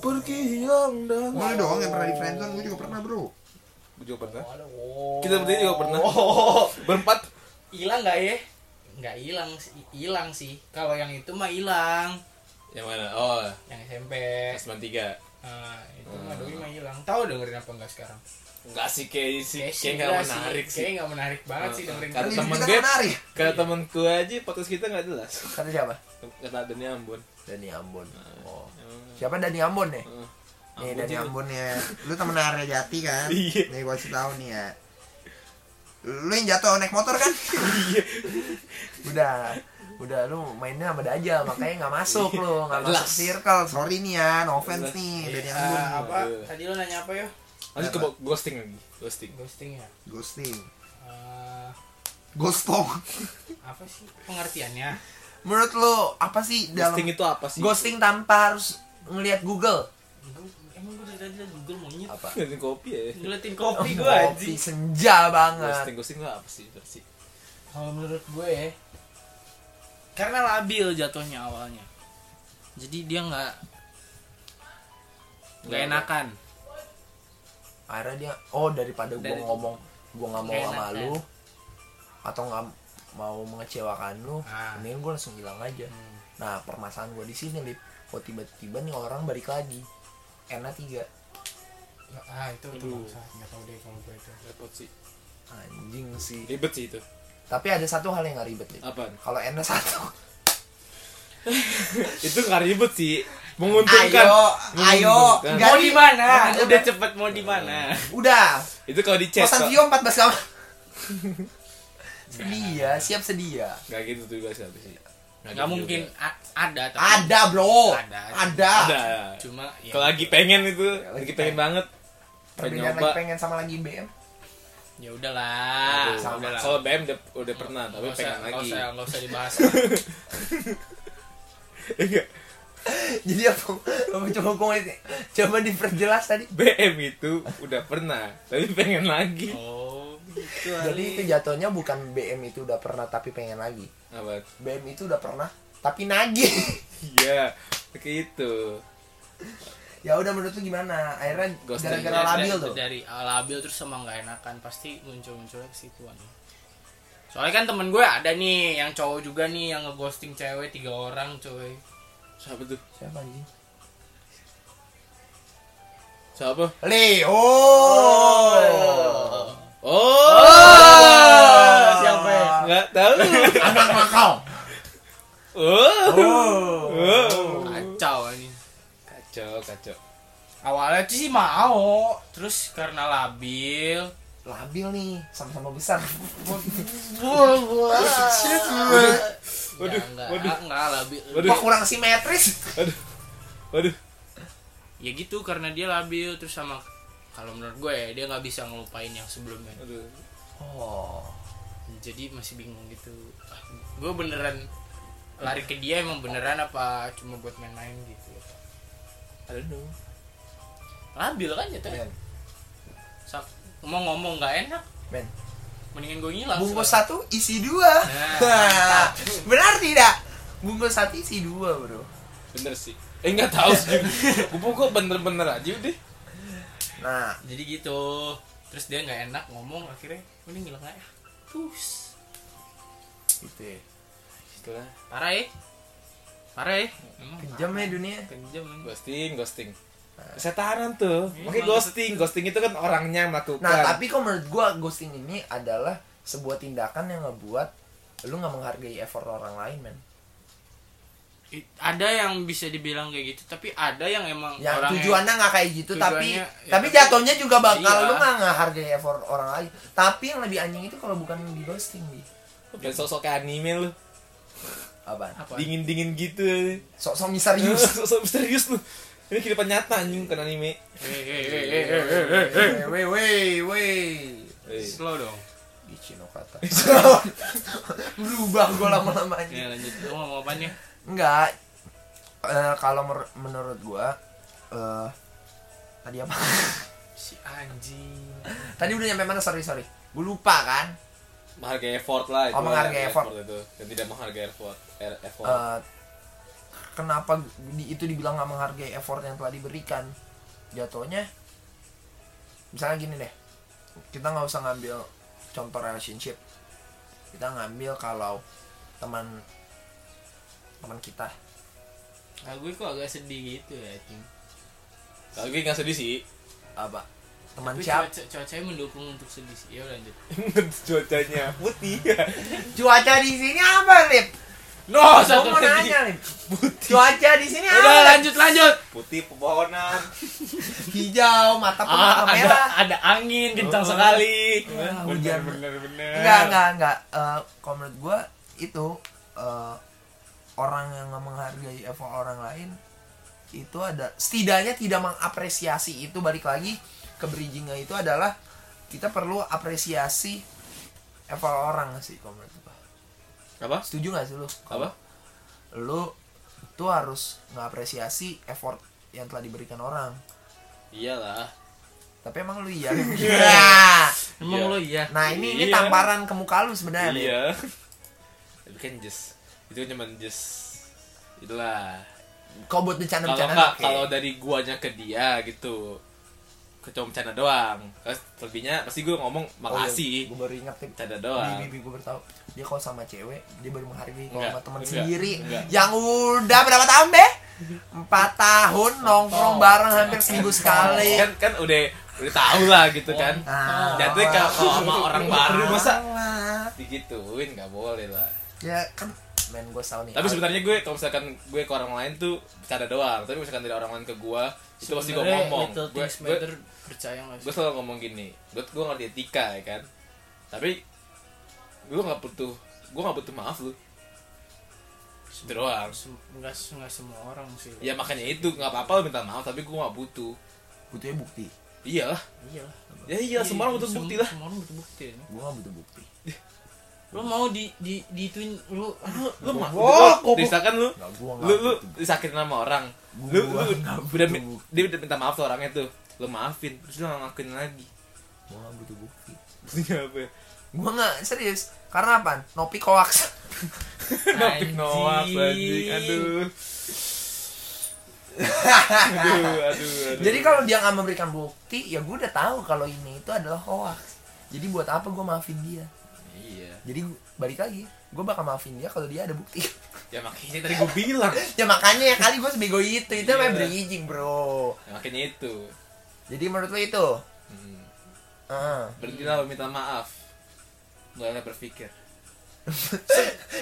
E: Pergi hilang dan.
G: Gue doang yang pernah di friendzone, gue juga pernah bro
E: Gue juga pernah.
F: Waduh. Oh.
E: Kita berdua juga pernah. Berempat.
F: Hilang nggak ya? Nggak hilang, sih. hilang sih. Kalau yang itu mah hilang.
E: Yang mana? Oh,
F: Yang SMP.
E: Asman tiga.
F: Nah, itu mah doi mah hilang. Tahu dengerin apa enggak sekarang?
E: Enggak sih kayak sih.
F: Kayak
E: Kayak
F: sih,
E: nggak
F: enggak sih.
E: menarik sih.
F: Kayak nggak menarik banget sih
E: Heeh.
F: dengerin. Iya.
E: Kata
C: Ini
E: temen
C: kita
E: gue,
C: kan menarik.
E: kata temanku aja podcast kita nggak jelas.
C: Kata siapa?
E: Kata adanya Ambon.
C: Dani Ambon. Oh. Siapa Dani Ambon nih?
E: Heeh.
C: Nih
E: Ambon
C: Dani
E: juga.
C: Ambon.
G: Ampun ya, lu temen Arya Jati kan?
E: Iya.
G: Nih gue kasih tau nih ya Lu yang jatuh naik motor kan?
E: Iya.
C: Udah, udah lu mainnya sama Dajjal makanya nggak masuk lu, nggak masuk
E: Jelas.
C: circle. Sorry nih ya, no offense nih
E: Iya,
C: Dani
F: Eh,
G: Ambon.
F: apa?
E: Aduh.
F: Tadi lo nanya apa yo?
E: Lanjut ke bo- ghosting lagi. Ghosting.
F: Ghosting ya?
G: Ghosting
F: Eh,
G: Ghostong
F: apa sih pengertiannya?
C: Menurut lu apa sih dalam
E: Ghosting itu apa sih?
C: ghosting tanpa harus ngelihat Google?
F: Gua- Emang gue dari tadi liat Google monyet.
C: Apa?
E: Ghosting kopi ya.
F: Ngeliatin Oh, kopi gue
C: Kopi
F: anjing.
C: Oh, senja
F: Nah.
E: Ghosting
C: banget.
E: ghosting itu apa sih? Apa sih?
F: Kalau menurut gue ya, karena labil jatuhnya awalnya. Jadi dia nggak nggak enakan.
C: Akhirnya dia, oh daripada gua
F: Dari-
C: ngomong, gua nggak mau
F: Nggak
C: sama
F: enak,
C: lu. atau nggak mau mengecewakan lu
F: Ah.
C: mendingan gue langsung bilang aja
G: Hmm.
C: nah permasalahan gue di sini lip kok tiba-tiba nih orang balik lagi enak tiga
H: ah itu tuh
E: Aduh.
H: nggak usah nggak tahu deh kalau gue itu
E: repot sih
C: anjing sih
E: ribet sih itu
C: tapi ada satu hal yang nggak ribet Lip.
E: apaan
C: kalau enak satu
E: itu nggak ribet sih menguntungkan
G: Ayo, ayo,
E: Bukan.
G: enggak
F: mau
G: nih.
F: di mana
G: Bukan.
F: udah cepet mau di mana
G: Udah.
E: itu kalau di chat
G: Kosan
E: kok.
G: Vio 14 kamar.
C: sedia siap sedia
E: nggak gitu tuh guys nggak sih gitu
F: nggak mungkin A- ada tapi
G: Ada, Bro.
F: Ada.
G: Ada.
E: ada
F: cuma ya,
E: kalau lagi pengen itu
C: lagi
E: lagi pengen banget pengen
C: perbedaan
E: nyoba
C: lagi pengen sama lagi BM
F: ya udahlah
E: Aduh,
F: udahlah
E: kalau BM udah, udah pernah tapi
F: Nggak usah-
E: pengen
F: nggak
E: lagi
F: usah nggak usah dibahas
E: Enggak.
C: jadi apa apa coba gue ngeliat- coba diperjelas tadi
E: BM itu udah pernah tapi pengen lagi
F: oh
C: jadi itu jatuhnya bukan BM itu udah pernah tapi pengen lagi
E: apa
C: BM itu udah pernah tapi nagih
E: iya gitu. kayak itu
C: ya udah menurut lu gimana akhirnya
E: Ghosting.
C: gara-gara
F: Dari-
C: labil
F: dari-
C: tuh
F: dari uh, labil terus sama nggak enakan pasti muncul-munculnya ke situ aja soalnya kan temen gue ada nih yang cowok juga nih yang ngeghosting cewek tiga orang coy
E: siapa tuh
C: siapa anjing
E: siapa
G: Leo.
C: Oh. Ah,
E: oh
F: siapa ya?
E: nggak tahu
G: Anak makau.
E: oh
C: oh
F: kacau ini
E: kacau kacau
F: awalnya tuh sih mau terus karena labil
C: labil nih sama-sama besar
E: Waduh,
F: enggak,
E: waduh.
F: enggak labil
E: Waduh.
C: Wah, kurang simetris
E: waduh
F: ya gitu karena dia labil terus sama kalau menurut gue ya, dia nggak bisa ngelupain yang sebelumnya
E: waduh
C: oh
F: jadi masih bingung gitu Ah, gue beneran lari ke dia emang beneran apa cuma buat main-main gitu
E: I don't know.
F: labil kan ya
C: men
F: Sak- mau ngomong nggak enak
C: men
F: mendingan gue ngilang
C: bungkus
F: sekarang.
C: satu isi dua
F: Nah,
C: benar tidak bungkus satu isi dua bro
E: bener sih eh nggak tahu sih gue kok bener-bener aja udah
C: nah
F: jadi gitu terus dia nggak enak ngomong akhirnya mending ngilang aja terus
C: gitu ya
E: setelah
F: parah ya parah ya Emang
C: kejam ya dunia
F: kejam anjing.
E: ghosting ghosting kesetaran Nah. tuh makanya ghosting ghosting itu kan orangnya yang melakukan
C: Nah, tapi kok menurut gua ghosting ini adalah sebuah tindakan yang ngebuat lu nggak menghargai effort orang lain, men.
F: I- ada yang bisa dibilang kayak gitu tapi ada yang emang
C: Yang
F: orangnya-
C: Ya, tujuannya nggak kayak gitu, tapi
F: tujuannya- ya,
C: tapi
F: tapi-
C: jatuhnya juga bakal
F: Iya.
C: lu nggak menghargai effort orang lain. Tapi yang lebih anjing itu kalau bukan di ghosting, di
E: dan sosok kayak anime lu
C: apa?
F: apa
E: dingin dingin gitu
C: Sok-sok
E: serius
C: misterius.
E: sosok serius lu ini kehidupan nyata anjing kan anime
F: Eh, eh, eh, eh, eh, eh, eh.
C: Wei, wei, wei. Iya.
F: slow dong
C: Ichi no kata. Berubah gua lama-lama anjing.
F: ya lanjut lu ngomong apa nih
C: Enggak. Eh, kalau mer- menurut gua eh tadi apa?
F: si anjing
C: tadi udah nyampe mana? Sorry, sorry. Gue lupa kan.
E: menghargai effort lah itu
C: Oh, menghargai
E: lah,
C: effort.
E: itu dan tidak menghargai effort er-
F: Oh.
E: effort
C: Eh, kenapa di- itu dibilang nggak menghargai effort yang telah diberikan jatuhnya misalnya gini deh kita nggak usah ngambil contoh relationship kita ngambil kalau teman teman kita
F: nah, gue kok agak sedih gitu ya anjing
E: kalau gue nggak sedih sih
C: apa teman
F: tapi
C: siapa
F: cuaca, cuacanya mendukung untuk sedih sih ya lanjut
E: cuacanya putih
C: cuaca di sini apa lip
F: no
C: Gua
F: Oh, satu
C: mau
F: lagi
C: nanya lip cuaca di sini
F: udah
C: apa
F: lanjut lanjut
E: putih pepohonan
C: hijau mata pun
F: ah,
C: mata
F: ada
C: merah
F: ada angin kencang
E: Oh.
C: Ah,
F: sekali
E: bener
C: hujan.
E: bener bener
C: Enggak, enggak, enggak. Eh, kalau menurut gue itu eh, orang yang nggak menghargai effort orang lain itu ada setidaknya tidak mengapresiasi itu balik lagi ke bridgingnya itu adalah kita perlu apresiasi effort orang nggak sih kalau menurut gue.
E: apa
C: Setuju nggak sih lu?
E: apa
C: Lu tuh harus ngapresiasi effort yang telah diberikan orang.
E: iyalah
C: Tapi emang lu iya. Iya.
F: emang
E: Iya.
F: lo iya
C: nah, ini ini
E: Iya.
C: tamparan ke muka lu sebenarnya. Lip.
E: iya tapi kan just itu kan cuman just itulah
C: Kau buat
E: kalau
C: bercanda-bercanda.
E: nggak
C: oke. Oh, iya.
E: kalau dari guanya ke dia gitu ke cuma bercanda doang terus lebihnya pasti gue ngomong makasih
C: gue baru inget nih
E: bercanda
C: Di
E: doang
C: bibi gue bertahu dia kalau sama cewek dia baru menghargai kalau
E: Enggak,
C: sama teman
E: enggak,
C: sendiri
E: enggak.
C: yang udah berapa tahun deh empat tahun nongkrong bareng hampir seminggu sekali
E: kan kan udah udah tahu lah gitu kan
C: Ah.
E: jadi kalau sama orang baru masa
C: Alah.
E: digituin nggak boleh lah
C: ya kan men gue tahu nih
E: tapi sebenarnya gue kalau misalkan gue ke orang lain tuh bercanda doang tapi misalkan dari orang lain ke gue itu pasti gue
F: Sebenarnya
E: ngomong
F: Little
E: gue
F: Things
E: gue,
F: Matter percaya nggak
E: gue
F: sih?
E: selalu ngomong gini gue gue ngerti etika ya kan tapi gue nggak butuh gue nggak butuh maaf lu itu doang
F: Sem- nggak nggak semua orang sih
E: ya makanya itu nggak apa-apa lu minta maaf tapi gue nggak butuh
C: butuhnya bukti
E: iyalah
F: iya lah
E: ya iya semua orang butuh
F: Sem-
E: bukti lah
F: semua orang butuh bukti ya.
C: gue gak butuh bukti
F: lu mau di di diituin lu
E: lu lu mah
C: Goblok,
E: lu
C: goblok.
E: disahkan lu
C: Nggak, gua nggak
E: lu lu
C: butuh.
E: disakitin sama orang
C: Gua
E: lu lu
C: nggak
E: udah
C: butuh.
E: mi- dia udah minta maaf tuh orangnya tuh lu maafin terus lu nggak ngakuin lagi
C: gue gak butuh bukti
E: Maksudnya apa ya?
C: gue nggak serius karena apa nopi koaks
E: Nopik noak anjing aduh aduh aduh aduh
C: jadi kalau dia nggak memberikan bukti ya gue udah tahu kalau ini itu adalah hoax jadi buat apa gue maafin dia
E: iya
C: jadi gua- balik lagi gue bakal maafin dia kalau dia ada bukti
E: ya makanya tadi gue bilang
C: ya makanya ya kali gue sebego itu itu
E: Iya.
C: namanya bridging bro
E: Ya, makanya itu
C: jadi menurut lo itu Ah.
E: hmm.
C: Heeh.
E: berhentilah minta maaf mulailah berpikir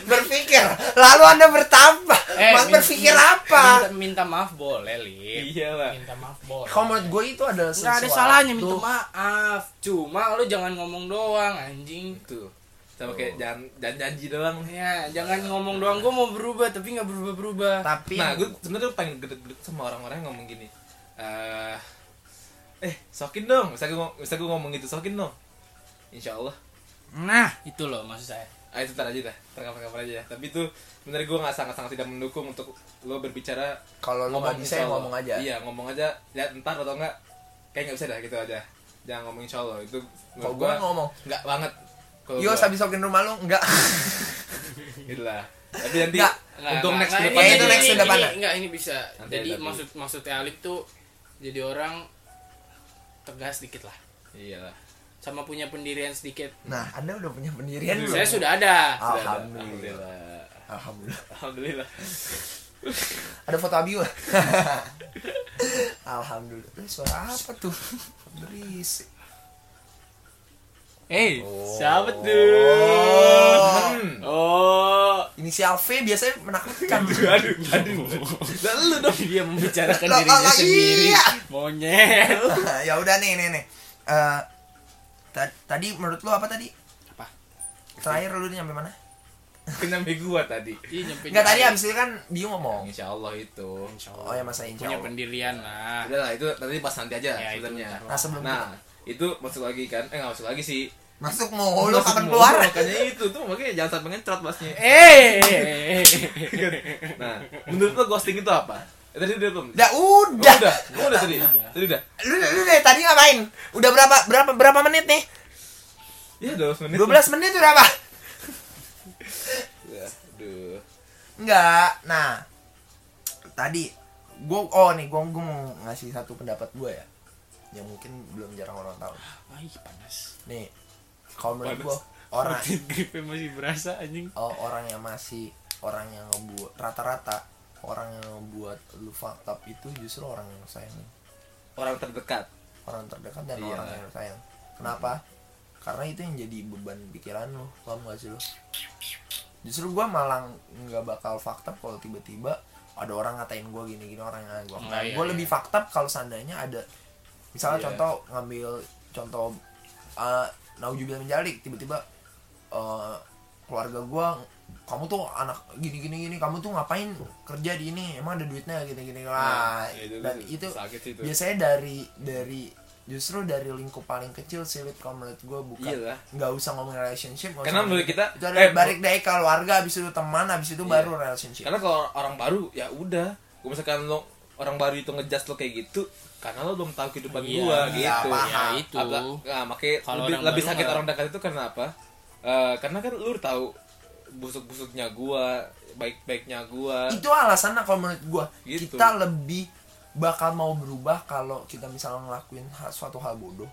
C: berpikir lalu anda bertambah
E: Eh,
C: mas
F: min-
C: berpikir
F: min-
C: apa
F: minta, minta maaf boleh lih
E: iya lah
F: minta maaf boleh
C: kalau menurut gue itu adalah
F: nggak ada
C: sesuatu-
F: salahnya minta maaf cuma lu jangan ngomong doang anjing
E: itu sama kayak jangan jangan janji doang
F: ya jangan ngomong doang gue mau berubah tapi nggak berubah berubah
C: tapi
E: Nah, gue sebenarnya tuh pengen gedek-gedek sama orang-orang yang ngomong gini. Eh, eh, sokin dong. Bisa gue bisa gue ngomong gitu, sokin dong. Insya Allah.
F: nah itu loh maksud saya
E: Ah, itu ntar aja dah, ntar kapan-kapan aja. ya. Tapi itu sebenarnya gue nggak sangat-sangat tidak mendukung untuk lo berbicara.
C: kalau lo nggak bisa
E: insya
C: ya
E: Allah.
C: ngomong aja
E: Iya, ngomong aja. Lihat ntar atau enggak. Kayak nggak bisa dah gitu aja. Jangan ngomong insya Allah. Itu
C: kalau
E: menurut
C: gue
E: gua
C: ngomong
E: nggak banget. Kalau
C: yo
E: gua,
C: habis sokin rumah lo enggak
E: gitu lah. Tapi nanti
C: Nggak.
E: untuk next ke
C: Ya,
E: depannya
C: itu
E: aja.
C: next ke depannya.
F: Enggak, ini bisa.
E: Nanti
F: jadi
E: ada dulu.
F: maksud maksudnya Alif tuh jadi orang tegas dikit lah.
E: Iya lah.
F: Sama punya pendirian sedikit.
C: nah anda udah punya pendirian belum
F: Saya sudah ada.
C: Ah.
E: Sudah ada.
C: alhamdulillah alhamdulillah
E: Alhamdulillah.
C: Ada foto Abi nggak? Alhamdulillah. Eh, suara apa tuh? Berisik.
F: Eh, siapa
C: Oh.
E: Hmm.
F: Oh,
C: Inisial V biasanya menakutkan.
E: aduh aduh lalu dong
F: dia membicarakan
C: Lah,
F: dirinya
C: lah,
F: sendiri.
C: iya.
F: Monyet.
E: Iya.
C: ya udah nih nih nih. Eh, ta- tadi menurut lu apa tadi?
F: Apa?
C: Terakhir lu nyampe mana?
E: kena gua tadi
F: Ih, nyampe
C: Enggak tadi
F: jauh.
C: abis itu kan Biu ngomong.
E: insya Allah itu
C: Oh ya masa insya Allah.
F: punya pendirian lah.
E: udah lah itu nanti pas nanti aja
F: Ya, itu
E: sebenarnya
F: ntar.
C: Nah sebelum
E: nah itu masuk lagi kan eh nggak masuk lagi sih
C: masuk mau Oh, lu
E: Masuk
C: kapan
E: mulu,
C: keluar?
E: Oh, makanya itu tuh makanya jangan sampai ngecerot masnya
F: Eh,
E: Iya, nah menurut lo ghosting itu apa Eh, tadi udah belum
C: Udah
E: Oh,
C: udah.
E: udah Oh, udah tadi tadi udah
C: Lu lu dari tadi ngapain? Udah berapa berapa berapa menit nih?
E: ya 12 menit
C: 12 menit udah apa?
E: Ya, aduh
C: Enggak. Nah, tadi gue oh nih gue mau ngasih satu pendapat gue ya yang mungkin belum jarang orang tahu
F: Ai, panas.
C: nih kalau menurut
E: Panas.
C: gue orang
F: Rutin gripnya masih berasa anjing.
C: oh, orang yang masih orang yang ngebuat rata-rata orang yang ngebuat lu fucked up itu justru orang yang lu sayang
E: orang terdekat
C: orang terdekat dan
E: Iya.
C: orang yang lu sayang kenapa karena itu yang jadi beban pikiran lu paham gak sih lu justru gue malah nggak bakal fucked up kalau tiba-tiba ada orang ngatain gue gini-gini orang yang
E: Oh,
C: gue
F: Enggak, iya,
C: gue
F: iya.
C: lebih fucked up kalau seandainya ada misalnya
E: Iya.
C: contoh ngambil contoh uh, naujubil menjalik tiba-tiba eh, keluarga gue kamu tuh anak gini gini gini kamu tuh ngapain kerja di ini emang ada duitnya gini gini lah
E: Nah, itu-
C: dan
E: itu
C: itu
E: sakit sih itu.
C: biasanya dari dari justru dari lingkup paling kecil sih Wit, kalau menurut gue bukan
E: Iya lah.
C: nggak usah ngomong relationship nggak
E: Karena
C: usah
E: menurut
C: ngomong-
E: kita-
C: itu ada
E: eh,
C: balik dari keluarga abis itu teman abis itu
E: Iya.
C: baru relationship
E: karena kalau orang baru ya udah gue misalkan lo orang baru itu ngejudge lo kayak gitu karena lo belum tahu kehidupan
F: Iya,
E: gua
C: iya,
E: gitu
C: paham.
F: Ya itu.
E: Apa- nah, makanya
F: Kalau
E: lebih,
F: orang
E: lebih
F: baru
E: sakit
F: nggak-
E: orang dekat itu karena apa? Eh, karena kan lu udah tahu busuk-busuknya gua, baik-baiknya gua.
C: itu alasannya kalau menurut gue
E: Gitu.
C: kita lebih bakal mau berubah kalau kita misalnya ngelakuin ha- suatu hal bodoh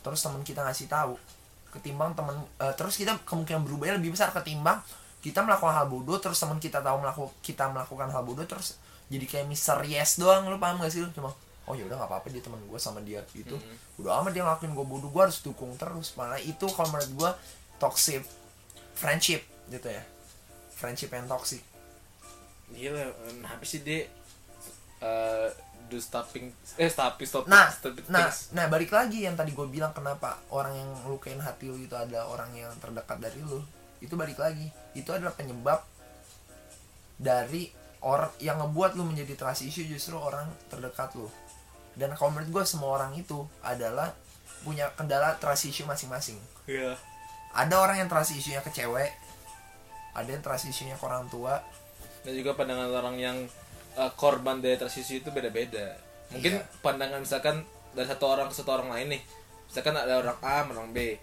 C: terus teman kita ngasih tahu ketimbang teman eh, terus kita kemungkinan berubahnya lebih besar ketimbang kita melakukan hal bodoh terus teman kita tahu melakukan kita melakukan hal bodoh terus jadi kayak misterius doang lu paham gak sih lu cuma oh ya udah nggak apa-apa dia teman gue sama dia gitu udah amat dia ngelakuin gue bodoh gue harus dukung terus malah itu kalau menurut gue toxic friendship gitu ya friendship yang toxic
E: Gila, kenapa sih dia eh do stopping eh stopping stop
C: nah
E: stop
C: nah nah balik lagi yang tadi gue bilang kenapa orang yang lukain hati lu itu ada orang yang terdekat dari lu itu balik lagi itu adalah penyebab dari orang yang ngebuat lu menjadi trust issue justru orang terdekat lu dan kalau menurut gue semua orang itu adalah punya kendala trust issue masing-masing
E: Iya.
C: ada orang yang trust issue-nya ke cewek ada yang trust issue-nya ke orang tua
E: Dan juga pandangan orang yang eh, korban dari transisi itu beda-beda. Mungkin
C: Iya.
E: pandangan misalkan dari satu orang ke satu orang lain nih. Misalkan ada orang A, sama orang B.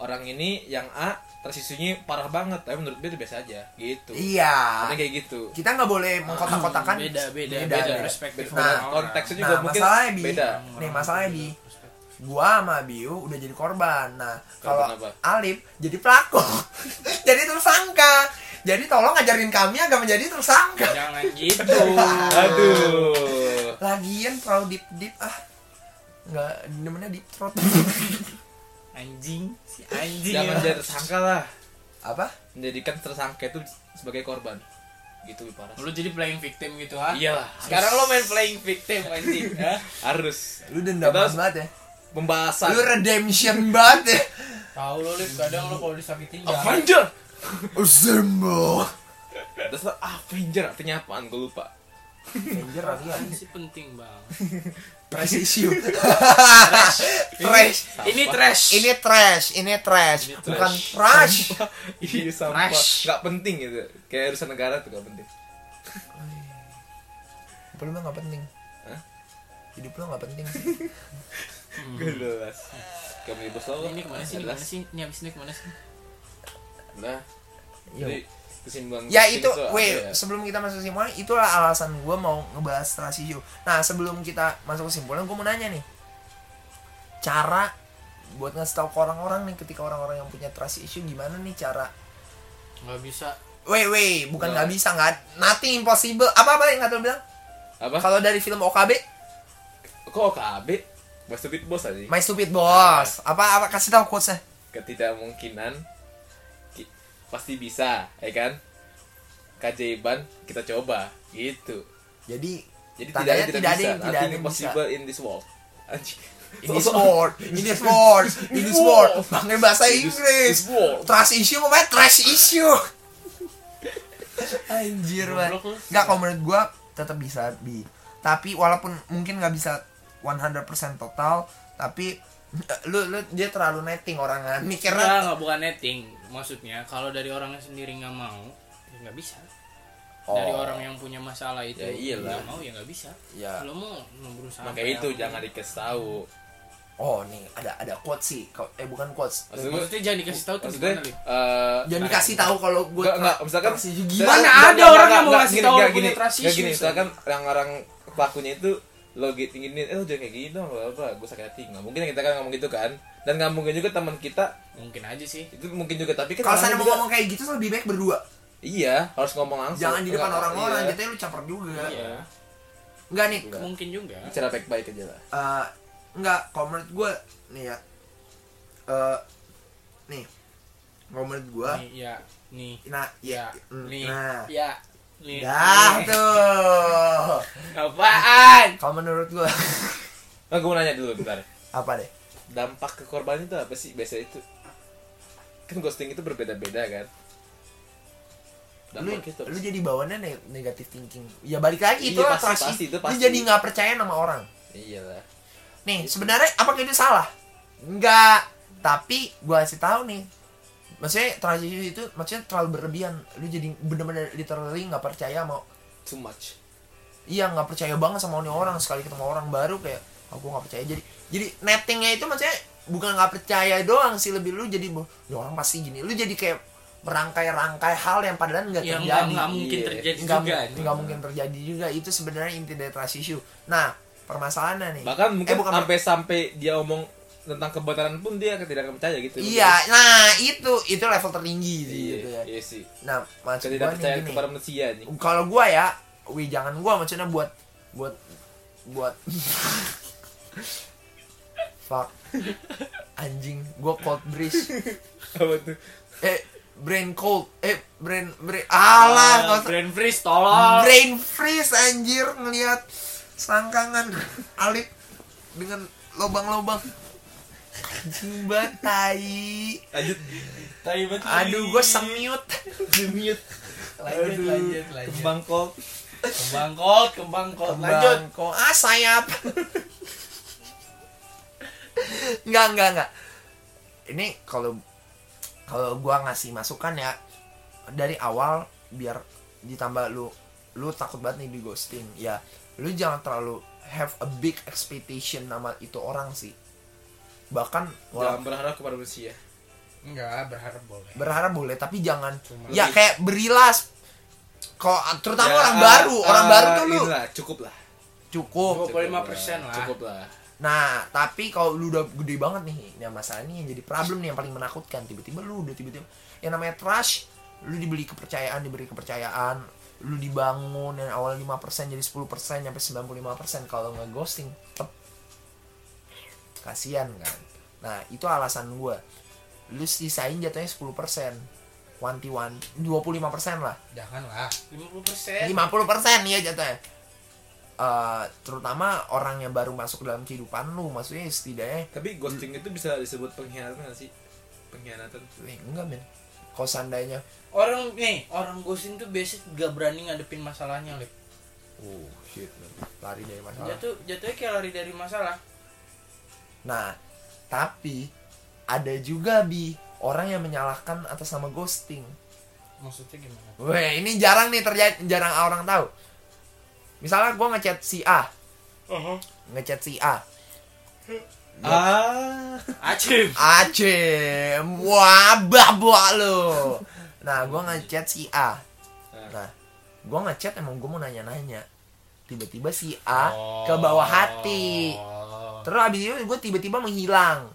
E: Orang ini yang A transisinya parah banget, tapi menurut B itu biasa aja gitu.
C: iya
E: Karena kayak gitu.
C: kita nggak boleh mengkotak-kotakan
F: beda beda
C: beda,
F: beda,
C: Iya, beda.
F: perspektif
E: Beda.
F: orang.
E: konteksnya juga
C: nah
E: mungkin
C: masalahnya bi
E: beda.
C: nih masalahnya bi gua sama Biu udah jadi korban nah kalau
E: Korban apa?
C: Alif jadi pelaku jadi tersangka jadi tolong ajarin kami agar menjadi tersangka
F: jangan gitu
C: Iya.
E: Aduh.
C: lagian terlalu deep deep ah nggak namanya deep throat
F: anjing si anjing
C: Iya.
E: Jangan
F: ya.
E: jadi tersangka lah.
C: apa
E: Menjadikan tersangka itu sebagai korban. Gitu Iya lebih parah.
F: lu jadi playing victim gitu ha
E: Iyalah,
F: sekarang lo main playing victim anjing ha?
E: harus
C: lu dendaman
E: Terus-
C: banget ya
E: pembahasan.
C: lu redemption banget ya
F: tahu lo lip kadang lo kalau disakitin jangan
E: Avenger.
C: Assemble
E: Terus Avenger artinya apaan? Gue lupa.
C: Ranger
F: Apaan sih penting bang
C: Trash issue Trash
F: ini trash
C: Ini trash Ini trash
E: Ini trash.
C: Bukan trash
E: Iya sampah. Gak penting gitu. Kayak urusan negara tuh gak penting.
C: Hidup lu mah gak penting
E: Hah?
C: Hidup lu gak penting
E: Gue jelas. Kami bos lo.
F: ini kemana sih ini kemana sih ini habis ini kemana sih
E: Nah. Jadi kesimpulan.
C: Ya
E: kesimpulan
C: itu, wait,
E: apa ya?
C: sebelum kita masuk kesimpulan, itulah alasan gue mau ngebahas trust issue. Nah, sebelum kita masuk kesimpulan, gue mau nanya nih. Cara buat ngasih tau ke orang-orang nih ketika orang-orang yang punya trust issue gimana nih cara
F: nggak bisa
C: Wait, wait, bukan
E: Nah.
C: nggak bisa nggak nothing impossible. Apa apa yang kata lu bilang?
E: Apa?
C: Kalau dari film OKB,
E: Kok OKB? Bahasa beat bos aja.
C: My Stupid Boss. Apa apa kasih tahu quotes-nya.
E: Ketidakmungkinan ki- pasti bisa, ya kan? Keajaiban kita coba gitu.
C: Jadi
E: Jadi tidak
C: Tandanya
E: ada tidak,
C: tidak ada
E: bisa.
C: yang- tidak ada
E: Nothing
C: yang
E: impossible in this world. Anjing.
C: in this world, in this world, in this world. Pakai bahasa
E: In this-
C: Inggris.
E: this world.
C: Trash issue namanya trash issue. Anjir banget.
F: Goblok lu.
C: Enggak kalau menurut gua tetap bisa bi. Tapi walaupun mungkin nggak bisa 100% total, tapi eh, lu lu dia terlalu netting orangnya
F: Nggak,
C: mikirnya
F: nggak bukan netting maksudnya kalau dari orangnya sendiri nggak mau ya nggak bisa dari
E: Oh.
F: orang yang punya masalah itu
E: Ya iyalah.
F: nggak mau ya nggak bisa
C: ya
F: lo mau mau berusaha
E: Makanya itu
F: kayak
E: jangan
F: apa.
E: dikasih tahu.
C: oh nih ada ada quotes sih Kau- eh bukan quotes
E: Maksud gue-
F: maksudnya jangan dikasih tahu tuh
E: maksudnya,
F: gimana Lip?
E: eh,
C: jangan
E: nah,
C: dikasih tahu kalau gue
E: Enggak, enggak, misalkan
C: trust issue.
F: Gimana
E: Enggak,
F: ada
E: enggak,
F: orang
E: enggak,
F: yang mau
E: enggak,
F: ngasih
E: gini,
F: tahu
E: enggak,
F: punya
E: gini, enggak,
F: trust
E: gini,
C: ya?
F: issues,
E: misalkan orang-orang pelakunya itu lo gitu gini, eh lo jangan kayak gini dong, apa, gue sakit hati. Nggak mungkin kita kan ngomong gitu kan. Dan nggak mungkin juga teman kita
F: mungkin aja sih
E: itu mungkin juga tapi kan
C: kalau
E: orangnya
C: sana mau
E: juga-
C: ngomong kayak gitu lebih baik berdua
E: Iya, harus ngomong langsung.
C: jangan di depan
E: Enggak,
C: orang-orang gitu.
E: iya.
C: jadinya lu caper juga
F: Iya,
C: enggak nih
E: Enggak.
F: mungkin juga.
E: Bicara baik-baik aja lah.
C: Eh, enggak kalau menurut gue nih ya Eh, nih kalau menurut gue
F: Nih, ya, nih,
C: nah ya
F: ya,
C: mm,
F: nih,
C: nah
F: ya, nih.
C: dah
F: nih.
C: tuh
F: Apaan? Ya,
C: kalau menurut gue
E: Nah, gue mau nanya dulu bentar.
C: apa deh
E: Dampak ke korban itu apa sih biasa itu? Kan ghosting itu berbeda-beda kan.
C: lu
E: Dampaknya itu apa
C: lu
E: sih?
C: jadi bawaannya ne- negative thinking ya balik lagi
E: Iya,
C: itu lah
E: pasti,
C: trust
E: pasti, itu
C: lu
E: pasti. Iya.
C: jadi nggak percaya sama orang
E: Iyalah.
C: nih sebenarnya apakah itu salah enggak tapi gue kasih tahu nih maksudnya transisi itu maksudnya terlalu berlebihan lu jadi bener-bener literally nggak percaya sama
E: Too much.
C: iya nggak percaya banget sama ini orang sekali ketemu orang baru kayak aku nggak percaya jadi jadi nettingnya itu maksudnya bukan nggak percaya doang sih lebih lu jadi "Bah, ya orang pasti gini lu jadi kayak merangkai-rangkai hal yang padahal nggak
F: yang
C: terjadi
F: nggak nggak mungkin
E: Iya.
F: terjadi
C: nggak
F: juga
C: mu- nggak mungkin terjadi juga itu sebenarnya inti dari trust issue nah permasalahannya nih
E: bahkan mungkin
C: Eh, bukan-
E: sampai sampai dia omong tentang kebakaran pun dia tidak akan percaya gitu
C: iya nah itu itu level tertinggi sih
E: iya,
C: gitu ya
E: iya sih
C: nah maksud gue
E: tidak percaya
C: nih
E: kepada
C: gini
E: manusia nih
C: kalau gua ya wih jangan gua maksudnya buat buat buat fuck anjing gua cold breeze
E: apa tuh
C: eh brain cold eh brain brain
F: Ah,
C: alah kau-
F: brand freeze Nah, tolong
C: brain freeze anjir ngelihat selangkangan alip dengan lobang-lobang anjing banget, tai
E: lanjut
D: Tapi betul.
C: aduh gue semiut
E: jenius
D: Lanjut,
E: Aduh,
D: lanjut, lanjut.
E: kembang kol
D: Kembang kol, kembang kol. Lanjut.
C: Kembang kok ah sayap nggak nggak nggak ini kalau kalau gua ngasih masukan ya dari awal biar ditambah lu lu takut banget nih di ghosting ya lu jangan terlalu have a big expectation nama itu orang sih bahkan
E: jangan
C: wala-
E: berharap kepada manusia
H: Enggak, berharap boleh.
C: berharap boleh tapi jangan
H: Cuma
C: ya kayak berilas kok terutama
E: Ya,
C: orang
E: ah,
C: baru orang
E: ah,
C: baru tuh lu
E: inilah, cukup lah
C: cukup
F: 25% lah.
E: cukup lah
C: Nah, tapi kalau lu udah gede banget nih, nah masalah ini yang jadi problem nih yang paling menakutkan. Tiba-tiba lu udah tiba-tiba yang namanya trash, lu dibeli kepercayaan, diberi kepercayaan, lu dibangun yang awal 5% jadi 10% sampai 95% kalau nggak ghosting. Tep. Kasian kan. Nah, itu alasan gua. Lu sisain jatuhnya 10%. Wanti-wanti 25% lah.
H: janganlah.
F: 50%
C: 50% ya jatuhnya Eh, terutama orang yang baru masuk dalam kehidupan lu maksudnya setidaknya
E: tapi ghosting itu bisa disebut pengkhianatan nggak sih pengkhianatan
C: eh, enggak men kalau seandainya
F: orang nih orang ghosting tuh biasanya gak berani ngadepin masalahnya lip
C: oh shit men. lari dari masalah
F: jatuh jatuhnya kayak lari dari masalah
C: nah tapi ada juga bi orang yang menyalahkan atas nama ghosting
F: maksudnya gimana
C: Weh, ini jarang nih terjadi, jarang orang tahu. Misalnya gue ngechat si A, ngechat si A,
E: ah
F: acim
C: Acem, wah babak lo. Nah, gua ngechat si A. Nah, gua ngechat emang gua mau nanya-nanya. Tiba-tiba si A ke bawah hati. Terus abis itu gue tiba-tiba menghilang.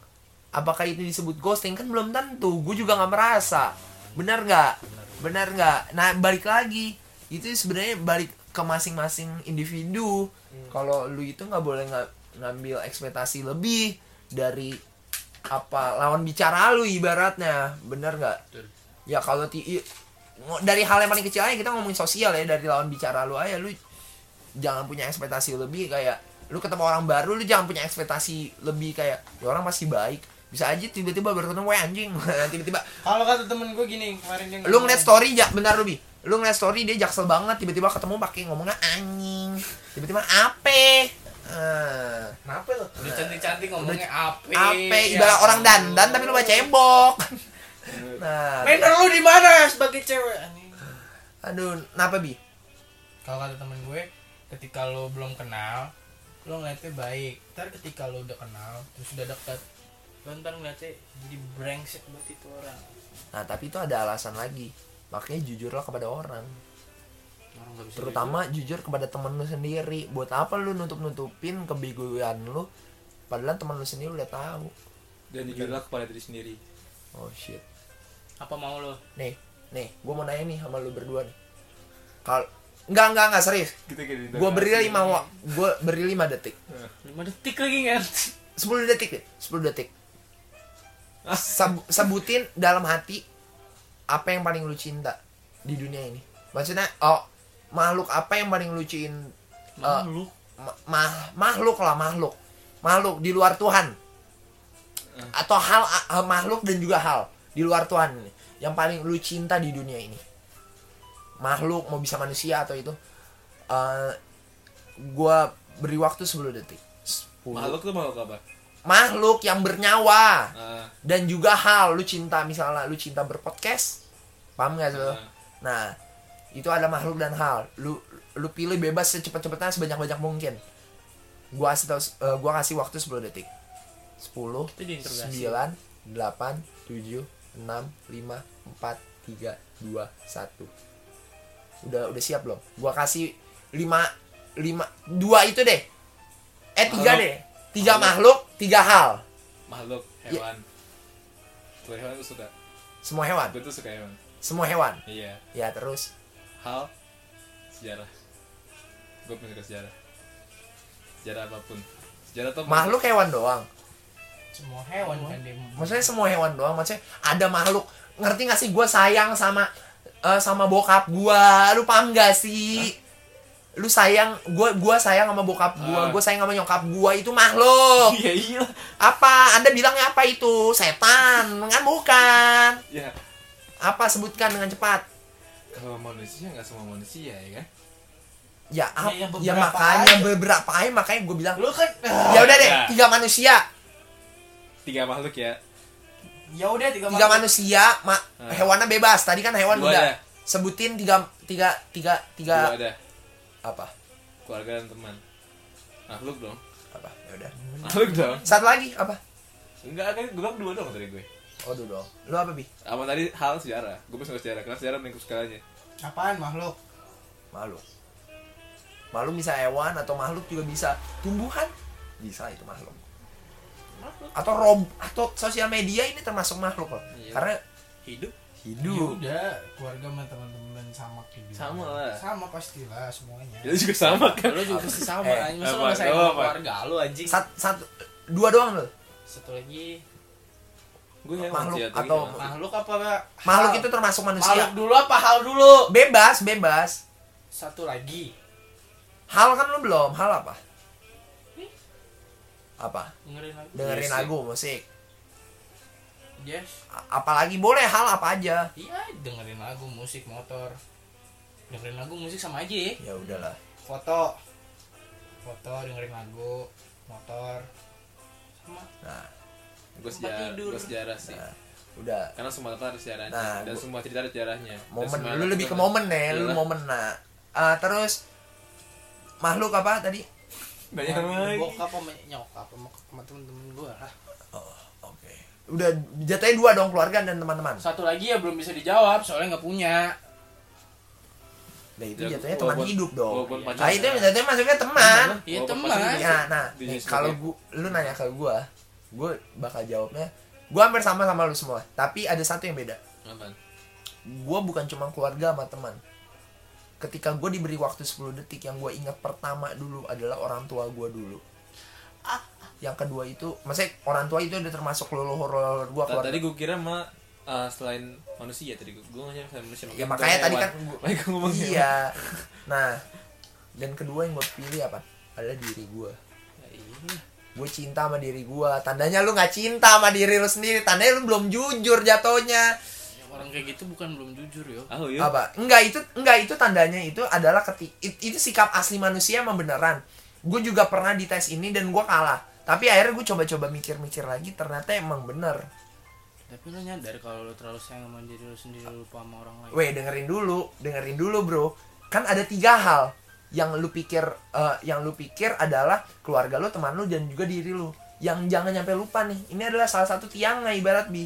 C: Apakah itu disebut ghosting? Kan belum tentu. Gue juga nggak merasa. Benar nggak? Benar nggak? Nah, balik lagi. Itu sebenarnya balik ke masing-masing individu. Kalau lu itu nggak boleh nggak ngambil ekspektasi lebih dari apa lawan bicara lu ibaratnya bener nggak ya kalau ti i- ngo- dari hal yang paling kecil aja kita ngomongin sosial ya dari lawan bicara lu aja lu jangan punya ekspektasi lebih kayak lu ketemu orang baru lu jangan punya ekspektasi lebih kayak "Ya orang pasti baik bisa aja tiba-tiba baru ketemu "Weh, anjing tiba-tiba
F: kalau kata temen gue gini kemarin dia
C: lu
F: ngomong,
C: ngeliat story ja bentar lu bi lu ngeliat story dia jaksel banget tiba-tiba ketemu pakai ngomongnya anjing tiba-tiba ape Eh,
H: Kenapa lo?
F: udah cantik-cantik ngomongnya ape
C: ape
F: ya
C: ibarat orang
F: Allah.
C: dandan tapi lu baca cebok nah
F: Manner lu di mana sebagai cewek? Anjing.
C: Aduh, kenapa bi?
F: Kalau kata temen gue, ketika lo belum kenal, lo ngeliatnya baik. Ntar ketika lo udah kenal, terus udah deket, lo ntar ngeliatnya jadi brengsek buat itu orang.
C: Nah, tapi itu ada alasan lagi. Makanya jujurlah kepada orang.
F: Orang gak bisa
C: Terutama jujur kepada temen lu sendiri. Buat apa lu nutup-nutupin kebegoan lu? Padahal temen lu sendiri udah tahu.
E: dan jujurlah kepada diri sendiri
C: Oh shit.
F: jujur. gitu. Apa mau lo?
C: Nih, nih, gue mau nanya nih sama lu berdua nih. Kalau Enggak, enggak, enggak, serius.
E: kita kayak
C: Gue beri 5 gue beri 5 detik.
F: 5 detik lagi kan?
C: 10 detik deh, 10 detik. Sab- sebutin dalam hati apa yang paling lu cinta di dunia ini. Maksudnya, oh, makhluk apa yang paling lu cin- eh,
F: Makhluk.
C: ma- ma- makhluk lah, makhluk. Makhluk di luar Tuhan. Atau hal a- makhluk dan juga hal di luar Tuhan ini. yang paling lu cinta di dunia ini. Makhluk mau bisa manusia atau itu. Eh, gua beri waktu 10 detik. 10
E: makhluk tuh makhluk apa
C: makhluk yang bernyawa
E: Ah,
C: dan juga hal lu cinta misalnya lu cinta berpodcast paham nggak tuh
E: Ah.
C: nah itu ada makhluk dan hal lu lu pilih bebas secepat-cepatnya sebanyak-banyak mungkin gua kasih tau, eh, gua kasih waktu 10 detik 10 9 8 7 6 5 4 tiga dua satu udah udah siap belum gua kasih lima lima dua itu deh eh tiga
E: Makhluk.
C: deh tiga makhluk tiga hal
E: makhluk hewan Tuh hewan gue suka
C: semua hewan
E: gue tuh suka hewan
C: semua hewan
E: iya
C: ya terus
E: hal sejarah gue pengen sejarah sejarah apapun sejarah tuh
C: makhluk hewan doang
F: semua hewan kan dia
C: maksudnya semua hewan doang maksudnya ada makhluk ngerti gak sih gue sayang sama eh, sama bokap gue lu paham gak sih lu sayang gue gua sayang sama bokap gue
E: Ah.
C: gue sayang sama nyokap gue itu makhluk
E: iya iya
C: apa anda bilangnya apa itu setan kan bukan
E: ya
C: apa sebutkan dengan cepat
E: kalau manusia nggak semua manusia ya kan
C: ya ap- ya,
E: Iya,
F: Ya, ya, beberapa
C: makanya
F: aja.
C: beberapa aja makanya gue bilang
F: lu kan
C: ya udah deh
E: Ya.
C: tiga manusia
E: tiga makhluk ya
F: ya udah tiga,
C: tiga
F: makhluk.
C: manusia ma-
E: Ah.
C: hewannya bebas tadi kan hewan
E: Dua
C: udah
E: ada.
C: sebutin tiga tiga tiga
E: dua
C: tiga
E: ada
C: apa
E: keluarga dan teman makhluk dong
C: apa ya udah
E: makhluk dong
C: satu lagi apa
E: enggak kan gue bilang dua dong tadi gue
C: oh dulu lu apa bi
E: sama tadi hal sejarah gue pun suka sejarah karena sejarah lingkup skalanya
F: apaan makhluk
C: makhluk makhluk bisa hewan atau makhluk juga bisa tumbuhan bisa itu makhluk atau rob atau sosial media ini termasuk makhluk loh
E: Iya.
C: karena
E: hidup
F: ya
C: hidup
F: udah keluarga sama teman-teman sama kayak gimana.
E: Sama lah.
F: sama pastilah semuanya
E: itu juga sama kan
D: Ya Lu juga pasti sama
C: Eh,
D: anjing. Masa lu
E: apa,
D: gak sayang
E: apa?
D: sama keluarga lu anjing?
C: satu satu dua doang loh
D: Satu lagi
E: gue hewan
C: Makhluk
E: sih, atau
C: atau-
E: gimana?
D: makhluk apa?
C: makhluk
D: hal?
C: itu termasuk manusia
D: Makhluk dulu apa hal dulu?
C: bebas bebas
D: Satu lagi.
C: hal kan lu belum hal apa apa
F: dengerin lagi
C: dengerin
E: Musik.
C: lagu musik
F: yes
C: A- apalagi boleh hal apa aja
F: iya dengerin lagu musik motor dengerin lagu musik sama aja ya
C: ya udahlah
F: foto foto dengerin lagu motor sama
C: nah
E: gue sejarah
F: tidur.
E: gue sejarah sih
C: Nah. udah
E: karena semua kata ada sejarahnya
C: Nah,
E: dan
C: gua-
E: semua cerita ada sejarahnya Dan
C: momen
E: semua
C: lu
E: kata
C: lebih ke
E: ada- Iya.
C: momen ya lu
E: Iyalah.
C: momen nah Ah, terus makhluk apa tadi
E: banyak lagi
F: bokap sama nyokap sama, sama temen-temen gue lah
C: oke udah jatuhnya dua dong keluarga dan teman-teman
F: satu lagi ya belum bisa dijawab soalnya nggak punya
C: nah itu
E: Ya,
C: jatuhnya teman
E: walaupun-
C: hidup dong
E: walaupun pacar
C: nah itu jatuhnya masuknya teman
F: Iya,
E: Walaupun
F: teman.
E: pacar juga.
C: ya nah
E: Di
C: nih,
E: Yesus
C: kalau
E: ya.
C: gua lu nanya ke gua gua bakal jawabnya gua hampir sama sama lu semua tapi ada satu yang beda
E: Apaan?
C: gua bukan cuma keluarga sama teman ketika gua diberi waktu 10 detik yang gua ingat pertama dulu adalah orang tua gua dulu yang kedua itu maksudnya orang tua itu udah termasuk leluhur leluhur gua keluarga
E: Ta- Nah, tadi gue kira mah eh, selain manusia tadi gue gue ngomongnya selain manusia
C: ya makanya tadi kan
E: makanya gue ngomong ya. hewan.
C: iya nah dan kedua yang gue pilih apa adalah diri gue
E: Ya, iya.
C: gue cinta sama diri gue tandanya lu nggak cinta sama diri lu sendiri tandanya lu belum jujur jatuhnya
F: orang kayak gitu bukan belum jujur yo
E: ah iya
C: apa enggak itu enggak itu tandanya itu adalah ketik itu sikap asli manusia emang beneran gue juga pernah dites ini dan gue kalah tapi akhirnya gue coba-coba mikir-mikir lagi ternyata emang bener
F: tapi lu nyadar kalau lu terlalu sayang sama diri lu sendiri lu lupa sama orang lain
C: Weh dengerin dulu, dengerin dulu bro. Kan ada tiga hal yang lu pikir, eh, yang lu pikir adalah keluarga lu, teman lu dan juga diri lu. Yang jangan nyampe lupa nih. Ini adalah salah satu tiangnya ibarat bi.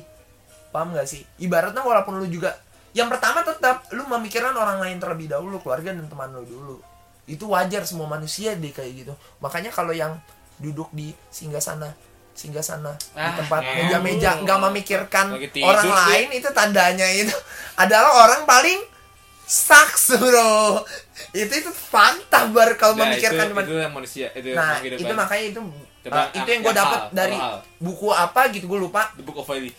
C: Paham gak sih? Ibaratnya walaupun lu juga, yang pertama tetap lu memikirkan orang lain terlebih dahulu, keluarga dan teman lu dulu. Itu wajar semua manusia deh kayak gitu. Makanya kalau yang duduk di singgah sana, singgah sana
F: Ah,
C: di tempat
F: ngewe.
C: meja-meja nggak memikirkan
E: Lagi tidur
C: orang
E: sih.
C: lain itu tandanya itu adalah orang paling saks bro itu itu fakta baru kalau
E: Nah,
C: memikirkan
E: itu,
C: cuman-
E: itu yang manusia itu yang kan.
C: nah
E: kehidupan.
C: itu makanya itu
E: Coba
C: uh,
E: ah,
C: itu yang gue
E: yang
C: dapat
E: hal,
C: dari
E: hal.
C: buku apa gitu gue lupa
E: the book of Eli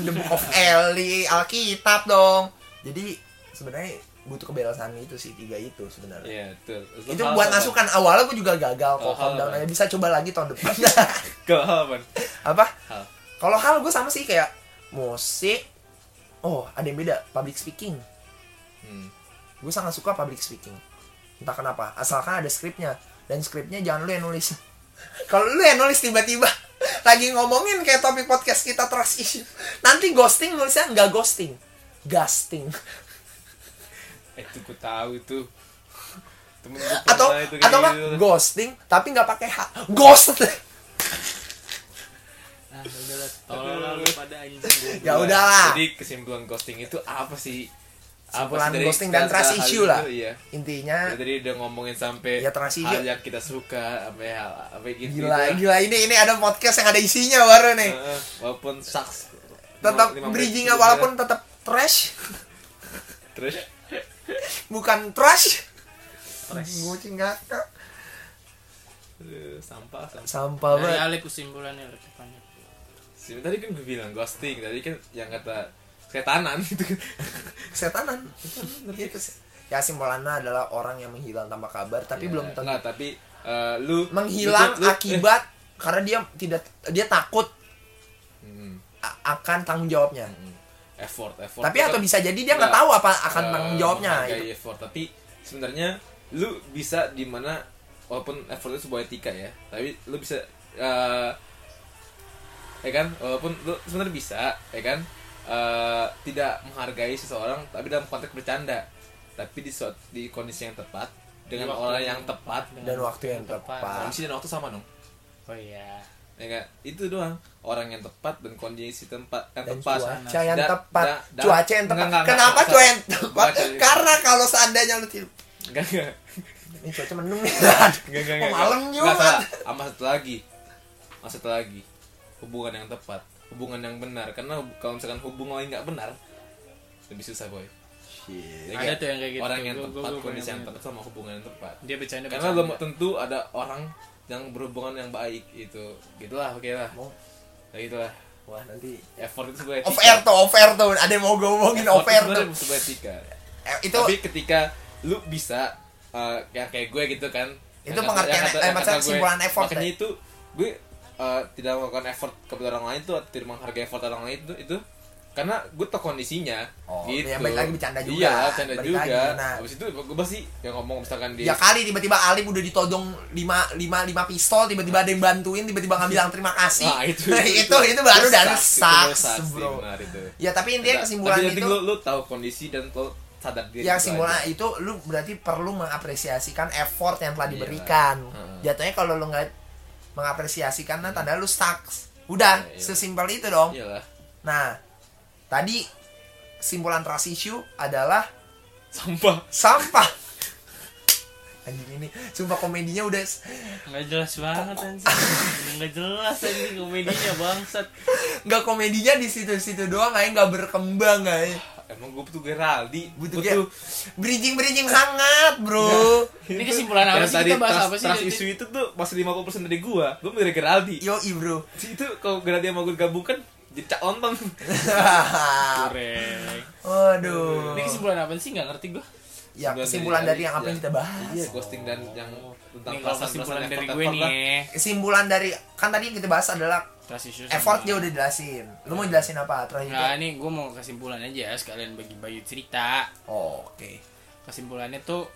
C: The Book of Eli Alkitab dong jadi sebenarnya butuh kebebasan itu sih tiga itu sebenarnya
E: Iya, betul. Terus
C: itu
E: hal
C: buat
E: apa?
C: masukan awalnya gue juga gagal kok
E: Kalau hal
C: calm down
E: apa?
C: aja. bisa coba lagi tahun depan
E: ke hal apa?
C: apa
E: Hal.
C: kalau hal gue sama sih kayak musik oh ada yang beda public speaking
E: Hmm.
C: gue sangat suka public speaking entah kenapa asalkan ada skripnya dan skripnya jangan lu yang nulis kalau lu yang nulis tiba-tiba lagi ngomongin kayak topik podcast kita trust issue nanti ghosting nulisnya nggak ghosting ghosting
E: Eh, itu gue tahu itu. Temen gue pernah
C: atau
E: Nah, itu kayak
C: atau nggak
E: gitu.
C: ghosting tapi nggak pakai h ghost
F: Nah, udah lah, tolol lah lu pada anjing. gitu.
C: Ya udahlah.
E: Iya. Jadi kesimpulan ghosting itu apa sih?
C: Kesimpulan
E: dari-
C: ghosting dan
E: setelah
C: trust
E: hal
C: issue
E: itu,
C: lah.
E: Iya.
C: Intinya
E: Dari tadi udah ngomongin sampai
C: Ya, trust issue.
E: hal yang kita suka, apa ya, hal apa yang gitu.
C: gila gila ini ini ada podcast yang ada isinya baru nih.
E: Heeh, walaupun sucks.
C: Tetap
E: Lima- lima menit
C: bridgingnya
E: juga.
C: walaupun tetap trash,
E: terus
C: bukan trash. Kucing ngakak.
E: aduh, sampah sampah.
C: Sampah
F: Dari
C: banget.
F: Ale kesimpulannya lu depannya.
E: Sim- Tadi kan gue bilang ghosting, tadi kan yang kata setanan gitu kan.
C: Kesetanan. Iya, kes- Ya simbolannya adalah orang yang menghilang tanpa kabar tapi
E: Ya,
C: belum tentu
E: enggak, tapi eh, lu
C: menghilang
E: lu- lu-
C: akibat karena dia tidak dia takut
E: eh, mm,
C: a- akan tanggung jawabnya.
E: mm, effort effort.
C: Tapi atau bisa jadi dia nggak
E: Enggak.
C: tahu apa akan
E: eh,
C: tanggung jawabnya. gitu.
E: menghargai
C: Itu.
E: effort tapi sebenarnya lu bisa di mana walaupun effort itu sebuah etika ya tapi lu bisa eh, ya kan walaupun lu sebenarnya bisa ya kan eh, tidak menghargai seseorang tapi dalam konteks bercanda tapi di suat- di kondisi yang tepat dengan
F: Di waktu
E: orang
F: yang-
E: yang tepat
C: Dan waktu yang tepat.
E: kondisi dan iya. waktu sama dong
F: Oh iya.
E: ya kan? itu doang orang yang tepat dan kondisi tempat yang
C: dan
E: tepat
C: cuaca yang
E: Da-
C: tepat
E: da- da-
C: cuaca yang tepat
E: Enggak, enggak,
C: kenapa
E: enggak,
C: cuaca yang
E: enggak,
C: tepat
E: cuaca-
C: karena kalau seandainya lu tidur
E: enggak, enggak.
C: ini cuaca mendung nih
E: Enggak, enggak,
C: Kok
E: enggak.
C: malam
E: Enggak,
C: Jumat?
E: salah. Sama satu lagi. Sama satu lagi. Hubungan yang tepat, hubungan yang benar. Karena hub- kalau misalkan hubungan lain nggak benar, lebih susah, boy. Ya
F: Ada
E: kan?
F: tuh yang kayak gitu.
E: Orang yang
F: Gua- gua-
E: tepat,
F: gua punya-
E: kondisi yang
F: punya.
E: tepat sama hubungan yang tepat.
F: Dia bercanda
E: Karena
F: bercanda.
E: belum tentu ada orang yang berhubungan yang baik gitu. Gitulah, oke lah.
C: Oh.
E: Ya gitulah.
C: wah nanti
E: Effort itu sebuah
C: off
E: etika.
C: air tuh off air tuh ada yang mau gue ngomongin
E: Effort
C: off air
E: itu
C: tuh
E: sebenarnya sebuah etika.
C: Eh, itu
E: Tapi ketika lu bisa eh, yang kayak gue gitu kan.
C: Itu
E: yang kata-
C: pengertian-
E: yang kata-
C: eh,
E: yang
C: maksudnya
E: kata gue,
C: kesimpulan effort,
E: Makanya
C: ya?
E: itu gue eh, tidak melakukan effort kepada orang lain tuh atau tidak menghargai effort orang lain itu itu karena gue tau kondisinya
C: Oh,
E: gitu.
C: ya balik lagi bercanda juga.
E: Iya, bercanda
C: Balik
E: juga.
C: lagi, nah.
E: Habis itu gue pasti yang ngomong misalkan di
C: ya kali tiba-tiba Alif udah ditodong lima lima lima pistol tiba-tiba ada yang bantuin tiba-tiba nggak bilang terima kasih
E: Nah, itu,
C: Nah, itu, itu baru
E: itu
C: dan
E: sucks, itu
C: sucks
E: sucks sih,
C: bro
E: benar itu.
C: ya tapi intinya
E: Tapi
C: kesimpulan
E: yang penting
C: itu
E: lu, lu tahu kondisi dan lu sadar diri.
C: yang
E: gitu
C: simbolan
E: aja.
C: itu lu berarti perlu mengapresiasikan effort yang telah
E: Iya.
C: diberikan.
E: Heeh.
C: Jatuhnya kalau lu nggak mengapresiasikan nah tanda lu stuck. Udah,
E: Iya, iya.
C: sesimpel itu dong.
E: Iyalah.
C: Nah, tadi kesimpulan trust issue adalah
E: Sampah.
C: sampah. Anjing ini, sumpah komedinya udah s-
F: Nggak jelas banget anjing. Nggak jelas anjing komedinya bangsat.
C: nggak komedinya di situ-situ doang, kayak nggak berkembang kayak.
E: Emang gue butuh Geraldi.
C: Butuh kayak bridging-bridging hangat, bro.
F: Ini kesimpulan apa
E: Yang
F: sih?
E: tadi
F: Kita bahas
E: trust-
F: apa sih?
E: Trust
F: Jadi-
E: isu itu tuh masih 50% dari gua. Gua milih Geraldi.
C: Yo, bro.
E: Itu kalau Geraldi sama gua kan, gabungkan jadi cak ontong.
F: Korek.
C: Waduh.
F: Ini kesimpulan apa sih? Nggak ngerti gua.
C: Ya, kesimpulan dari yang apa yang kita bahas.
E: Iya, ghosting dan yang tentang
F: Ini kalau kesimpulan dari gue nih. ya.
C: kesimpulan dari kan tadi yang kita bahas adalah
F: Trust issue sama-
C: effort dia udah jelasin lu mau jelasin apa terakhir
F: Nah, ini gue mau kesimpulan aja sekalian bagi Bayu cerita.
C: oh, oke
F: Kesimpulannya tuh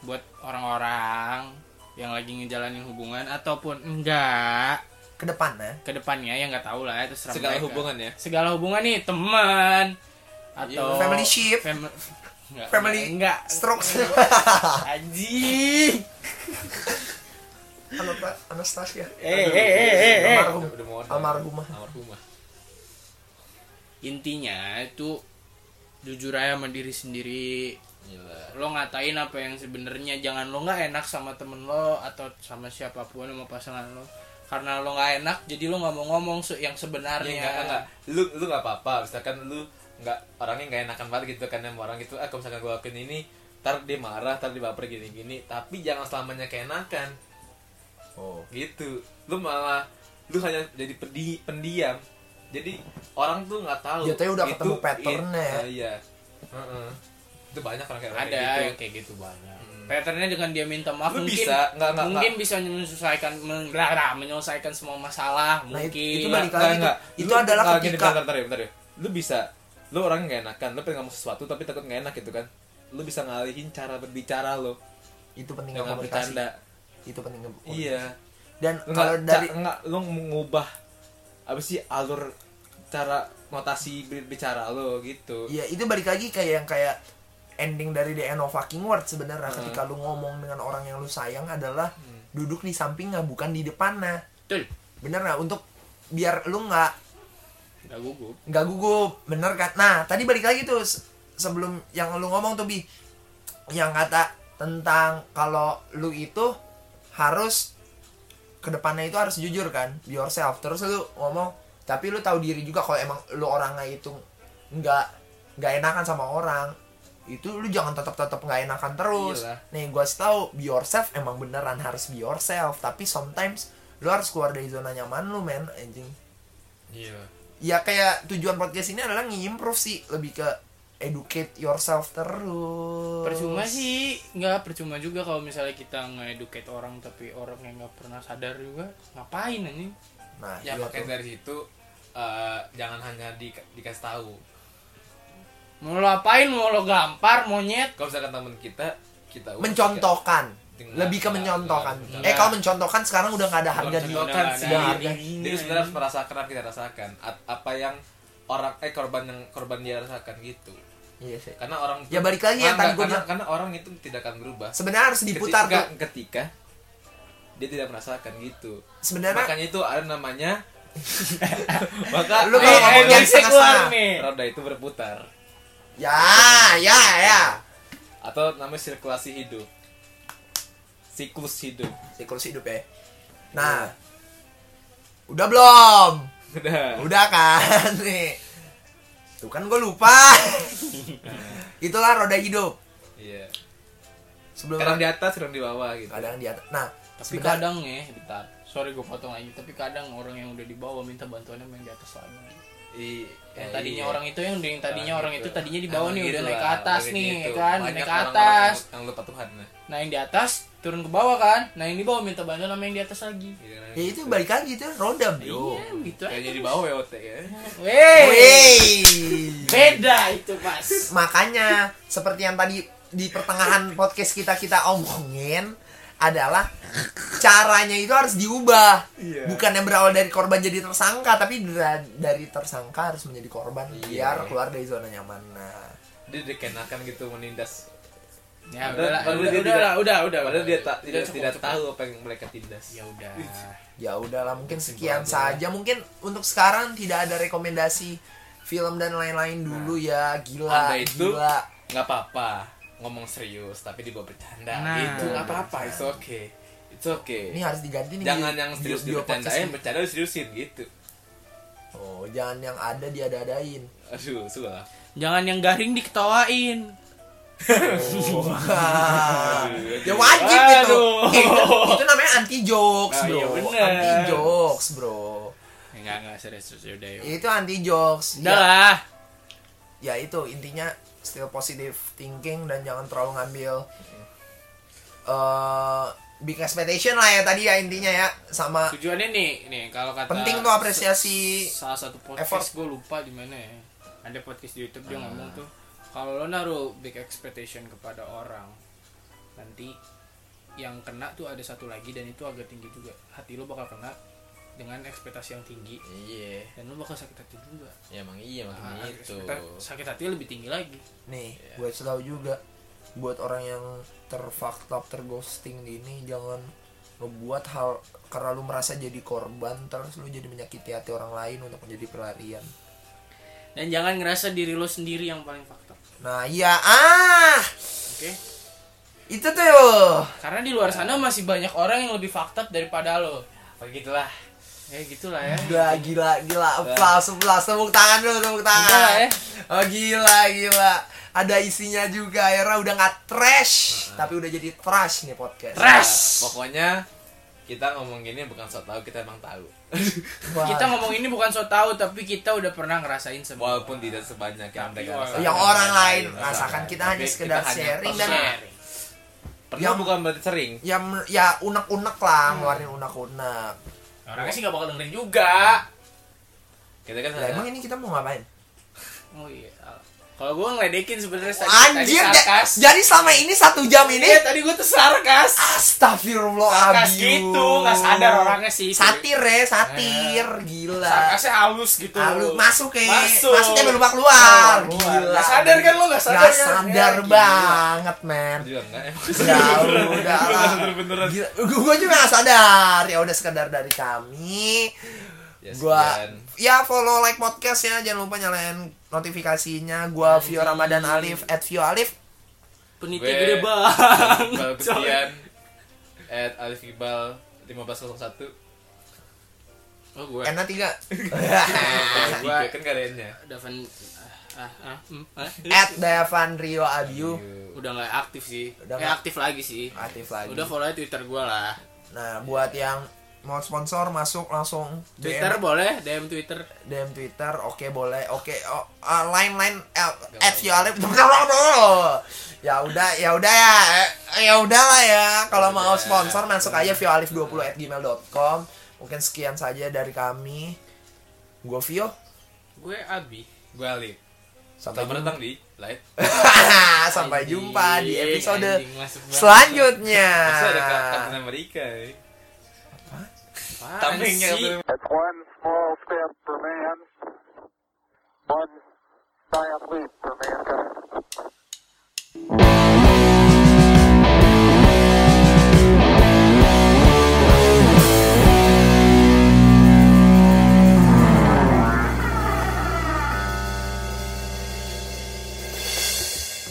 F: buat orang-orang yang lagi ngejalanin hubungan ataupun enggak
C: ke depan ya
F: ke depannya yang nggak tahu lah itu serem
E: Segala
F: mereka.
E: hubungan ya.
F: Segala hubungan nih, teman atau
C: Iya. Family ship.
F: fam- enggak,
C: Family-
F: enggak,
C: stroke
F: anjing.
C: Anota- Anastasia
F: Eh, eh, eh, eh, eh.
C: almarhum almarhumah
E: Almarhumah.
F: Intinya itu jujur aja sama diri sendiri,
E: Gila.
F: lo ngatain apa yang sebenarnya jangan lo nggak enak sama temen lo atau sama siapapun sama pasangan lo karena lo nggak enak jadi lo nggak mau ngomong se- yang
E: Iya,
F: sebenarnya
E: enggak, enggak. Lu lu enggak apa-apa. Misalkan lu enggak orangnya enggak enakan banget gitu kan sama orang gitu. Ah, kalau misalkan gua lakuin ini, ntar dia marah, ntar dia baper gini-gini. Tapi jangan selamanya keenakan.
C: oh
E: gitu lu malah lu hanya jadi pedi pendiam jadi orang tuh nggak tahu
C: Jatuhnya udah ketemu patternnya ya.
E: ya iya Heeh. itu banyak orang kayak
F: ada
E: kayak
F: yang
E: gitu.
F: kayak gitu banyak
E: Hmm.
F: patternnya dengan dia minta maaf
E: Lu
F: mungkin
E: bisa, enggak, enggak,
F: mungkin bisa menyelesaikan menggelar menyelesaikan semua masalah
C: Nah, itu-
F: mungkin
C: itu balik-
E: Enggak,
C: lagi
E: enggak.
C: tuh. Itu adalah
E: enggak, gini,
C: ketika-
E: bentar, bentar, ya, bentar, ya. lu bisa lu orang nggak enakan lu pengen ngomong sesuatu tapi takut nggak enak gitu kan lu bisa ngalihin cara berbicara lo
C: itu penting
E: dengan
C: komunikasi
E: bercanda
C: itu penting komunikasi.
E: iya
C: dan
E: Lu
C: kalau
E: nggak-
C: dari
E: ca- nggak lu mengubah apa sih alur cara notasi berbicara lo gitu
C: Iya, itu balik lagi kayak yang kayak ending dari The End of Fucking World sebenarnya ketika lu ngomong dengan orang
E: Hmm.
C: yang lu sayang adalah duduk di sampingnya bukan di depannya.
F: Betul.
C: Bener nggak? Untuk biar lu nggak
I: Gak gugup.
C: nggak gugup bener kan nah tadi balik lagi tuh se- sebelum yang lu ngomong tuh bi yang kata tentang kalau lu itu harus kedepannya itu harus jujur kan be yourself terus lu ngomong tapi lu tahu diri juga kalau emang lu orangnya itu nggak nggak enakan sama orang itu lu jangan tetap tetap nggak enakan terus
I: Iyalah.
C: nih gua tahu be yourself emang beneran harus be yourself tapi sometimes lu harus keluar dari zona nyaman lu men anjing
F: Iya.
C: ya kayak tujuan podcast ini adalah ngimprove sih lebih ke educate yourself terus
F: Oh. Percuma sih, nggak percuma juga kalau misalnya kita nge-educate orang tapi orang yang nggak pernah sadar juga ngapain anjing?
C: nah
E: ya
C: iya
E: makanya
C: tuh.
E: dari situ eh, jangan hanya di, dikasih tahu
F: Mau lo apain? Mau lo gampar monyet?
E: kalau misalkan teman kita kita urus,
C: mencontohkan
E: Enggak,
C: lebih ke
E: enggak,
C: mencontohkan
E: enggak,
C: eh
F: enggak.
C: kalau mencontohkan sekarang udah nggak ada harga di
E: Bukan mencontohkan
F: Udah nggak
E: sih
F: ada
C: harga.
F: harganya,
E: jadi sebenarnya
C: iya.
E: harus
F: anjing.
E: merasakan apa yang kita rasakan A- apa yang orang eh korban yang korban dia rasakan gitu
C: Iya sih.
E: karena orang
C: Ya, balik lagi ya,
E: Enggak,
C: tadi gua
E: karena,
C: bilang.
E: karena orang itu tidak akan berubah
C: sebenarnya harus diputar
E: ketika,
C: tuh
E: ketika dia tidak merasakan gitu
C: sebenarnya
E: makanya itu ada namanya maka
C: Lu kalau
E: eh,
C: ngomong
E: eh,
C: jangan
F: Indonesia keluar
C: setengah-setengah.
F: nih.
E: roda itu berputar
C: ya ya ya
E: atau namanya sirkulasi hidup siklus hidup
C: siklus hidup ya nah udah belum
E: udah
C: udah kan nih tuh kan gue lupa itulah roda hidup
E: iya
C: sebelum
E: kadang di atas kadang di bawah gitu
C: kadang di atas nah
F: Tapi
C: sebentar-
F: kadang ya, bentar. Sorry gue potong lagi, tapi kadang orang yang udah di bawah minta bantuannya yang di atas lagi.
E: I,
F: Yang
E: eh,
F: tadinya
E: iya.
F: orang itu yang yang tadinya
E: Nah,
F: orang
E: gitu.
F: itu tadinya di bawah
E: Emang
F: nih
E: gitu
F: udah naik ke
E: lah,
F: atas
E: kayak
F: nih ya
E: gitu.
F: kan, udah
E: Banyak
F: naik ke
E: orang-orang
F: atas.
E: yang- yang lupa Tuhan nah.
F: Nah yang di atas turun ke bawah kan, nah yang di bawah minta bantuan sama yang di atas lagi.
E: Iya, kan?
C: Ya itu balik lagi itu roda bro.
F: Iya gitu aja.
E: kayaknya di bawah ya otak ya
F: Wey,
C: Wey.
F: beda itu mas.
C: Makanya seperti yang tadi di pertengahan podcast kita kita omongin adalah caranya itu harus diubah.
E: Iya.
C: Bukan yang berawal dari korban jadi tersangka, tapi dra- dari tersangka harus menjadi korban
E: Iya.
C: biar keluar dari zona nyaman. Nah,
E: dia dikenakan gitu menindas Padahal-
F: Ya udah,
E: padahal
F: udah,
E: dia
F: udah,
E: tidak-
F: lah, udah, udah,
E: padahal dia tak
F: Udah,
E: tidak
F: cukup,
E: tidak
F: cukup.
E: tahu apa yang mereka tindas
F: Ya udah.
C: ya udahlah mungkin sekian saja. Mungkin untuk sekarang tidak ada rekomendasi film dan lain-lain dulu ya. Gila,
E: Nah. Anda itu-
C: gila.
E: nggak apa-apa ngomong serius tapi dibawa bercanda
F: Nah.
E: itu nggak apa-apa it's okay it's okay
C: Ini harus diganti nih.
E: jangan
C: bio-
E: yang serius
C: bio- bio podcast
E: dibercandain
C: ini.
E: bercanda seriusin gitu
C: Oh, jangan yang ada diada-adain.
E: aduh sudah
F: Jangan yang garing diketawain.
C: Wah. ya wajib itu.
F: Aduh.
C: Eh, itu. Itu namanya anti jokes,
E: Nah,
F: Ah,
C: Bro.
F: iya bener.
C: anti jokes, Bro. Ya,
F: Enggak, enggak serius, serius
E: Ya
F: udah yuk.
C: Itu anti jokes.
F: Udah
C: Ya,
F: lah.
C: ya itu intinya still positive thinking dan jangan terlalu ngambil
E: Hmm.
C: eh big expectation lah ya tadi ya intinya ya sama
F: Tujuannya nih, nih kalau kata
C: penting tuh apresiasi
F: salah satu
C: effort. Ah.
F: podcast gue lupa di mana ya. Ada podcast di YouTube dia ngomong tuh kalau lo naruh big expectation kepada orang nanti yang kena tuh ada satu lagi dan itu agak tinggi juga. Hati lo bakal kena dengan ekspektasi yang tinggi
E: iya
F: dan lo bakal sakit hati juga.
E: ya emang iya
F: Nah,
E: makanya
C: Gitu.
E: itu
F: ekspekta- sakit hati lebih tinggi lagi.
C: Nih, gue tahu juga buat orang yang terfucked up, terghosting di ini jangan ngebuat hal karena lu merasa jadi korban terus lu jadi menyakiti hati orang lain untuk menjadi pelarian.
F: Dan jangan ngerasa diri lo sendiri yang paling faktor. Oke?
C: Nah, iya ah, itu tuh.
F: Karena di luar
C: Ah.
F: sana masih banyak orang yang lebih faktor daripada lo.
C: Oh,
E: begitulah
F: Ya gitulah ya.
C: Gila, gila, gila. Aplaus, aplaus. Tepuk tangan dulu, tepuk tangan.
F: Gila ya.
C: Oh, gila, gila. Ada isinya juga. Akhirnya udah nggak trash, tapi udah jadi trash nih podcast.
F: Trash.
E: pokoknya kita ngomong gini bukan so tahu kita emang tahu
C: Wah.
F: Kita ngomong ini bukan so tahu tapi kita udah pernah ngerasain semua.
E: walaupun tidak sebanyak yang
F: Tapi
E: mereka
F: orang-
E: rasakan.
C: yang orang lain
E: Orang
C: rasakan
E: lain.
C: kita
E: Tapi
C: hanya sekedar
E: kita hanya
C: sharing dan
E: pernah.
F: Sharing.
E: pernah
C: Yang-
E: bukan berarti sering
C: ya men- ya unek unek
F: Hmm.
C: lah ngeluarin unek unek
F: Orangnya sih gak bakal dengerin juga.
E: kita kan
C: lah
E: sadar.
C: emang ini kita mau ngapain
F: Oh iya. Kalau gue ngeledekin sebenarnya tadi, tadi
C: anjir ja-
F: sarkas.
C: jadi selama ini satu jam ini
F: Iya, tadi gue tuh sarkas. Sarkas
C: astagfirullahaladzim
F: gitu, gak sadar orangnya Gitu. Eh, sih.
C: satir ya satir gila
F: Sarkasnya halus gitu.
C: Lalu masuk ya
F: Masuk.
C: masuknya baru bakal keluar gila
F: Gak sadar kan lo gak sadar
C: Gak
F: kan?
C: sadar
F: Ya,
C: banget men
E: juga enggak emang
C: Jauh udah lah Gila, Gue juga gak sadar Ya udah sekedar dari kami
E: Ya,
C: gua
E: sekian.
C: ya follow like podcast ya jangan lupa nyalain notifikasinya gua Vio Ramadan Alif at Vio Alif
F: Peniti
E: Gue-
F: gede bang.
E: Iqbal Kutian at Alif Iqbal 1501
F: Oh gue.
C: karena tiga Ah,
E: Tiga kan gak ada N-nya.
F: Davan ah, ah, ah, hmm, ah.
C: at Devan Rio Abiu
F: udah nggak aktif sih.
C: Udah
F: Udah
C: nggak-
F: aktif lagi sih.
C: aktif lagi
F: Udah follow aja Twitter gue lah.
C: nah buat yang mau sponsor masuk langsung DM,
F: Twitter boleh, DM Twitter.
C: DM Twitter oke boleh oke oh, ah, line line eh, at Vio Alif ya udah ya udah ya Eh, ya udah lah ya kalau mau sponsor masuk aja Vio Alif 20 at gmail.com mungkin sekian saja dari kami gua Vio
F: Gue Abi.
E: Gue Alif
C: Sampai
E: Selamat
C: jumpa.
E: datang di Live
C: Nah. Sampai jumpa di
F: Anjing,
C: episode
F: anjing, masuk banget.
C: selanjutnya.
E: Masih ada Kak- Captain America ya
F: Apaan
E: Tamengnya
F: sih?
E: Captain
J: It's one small step for man, one giant leap for mankind.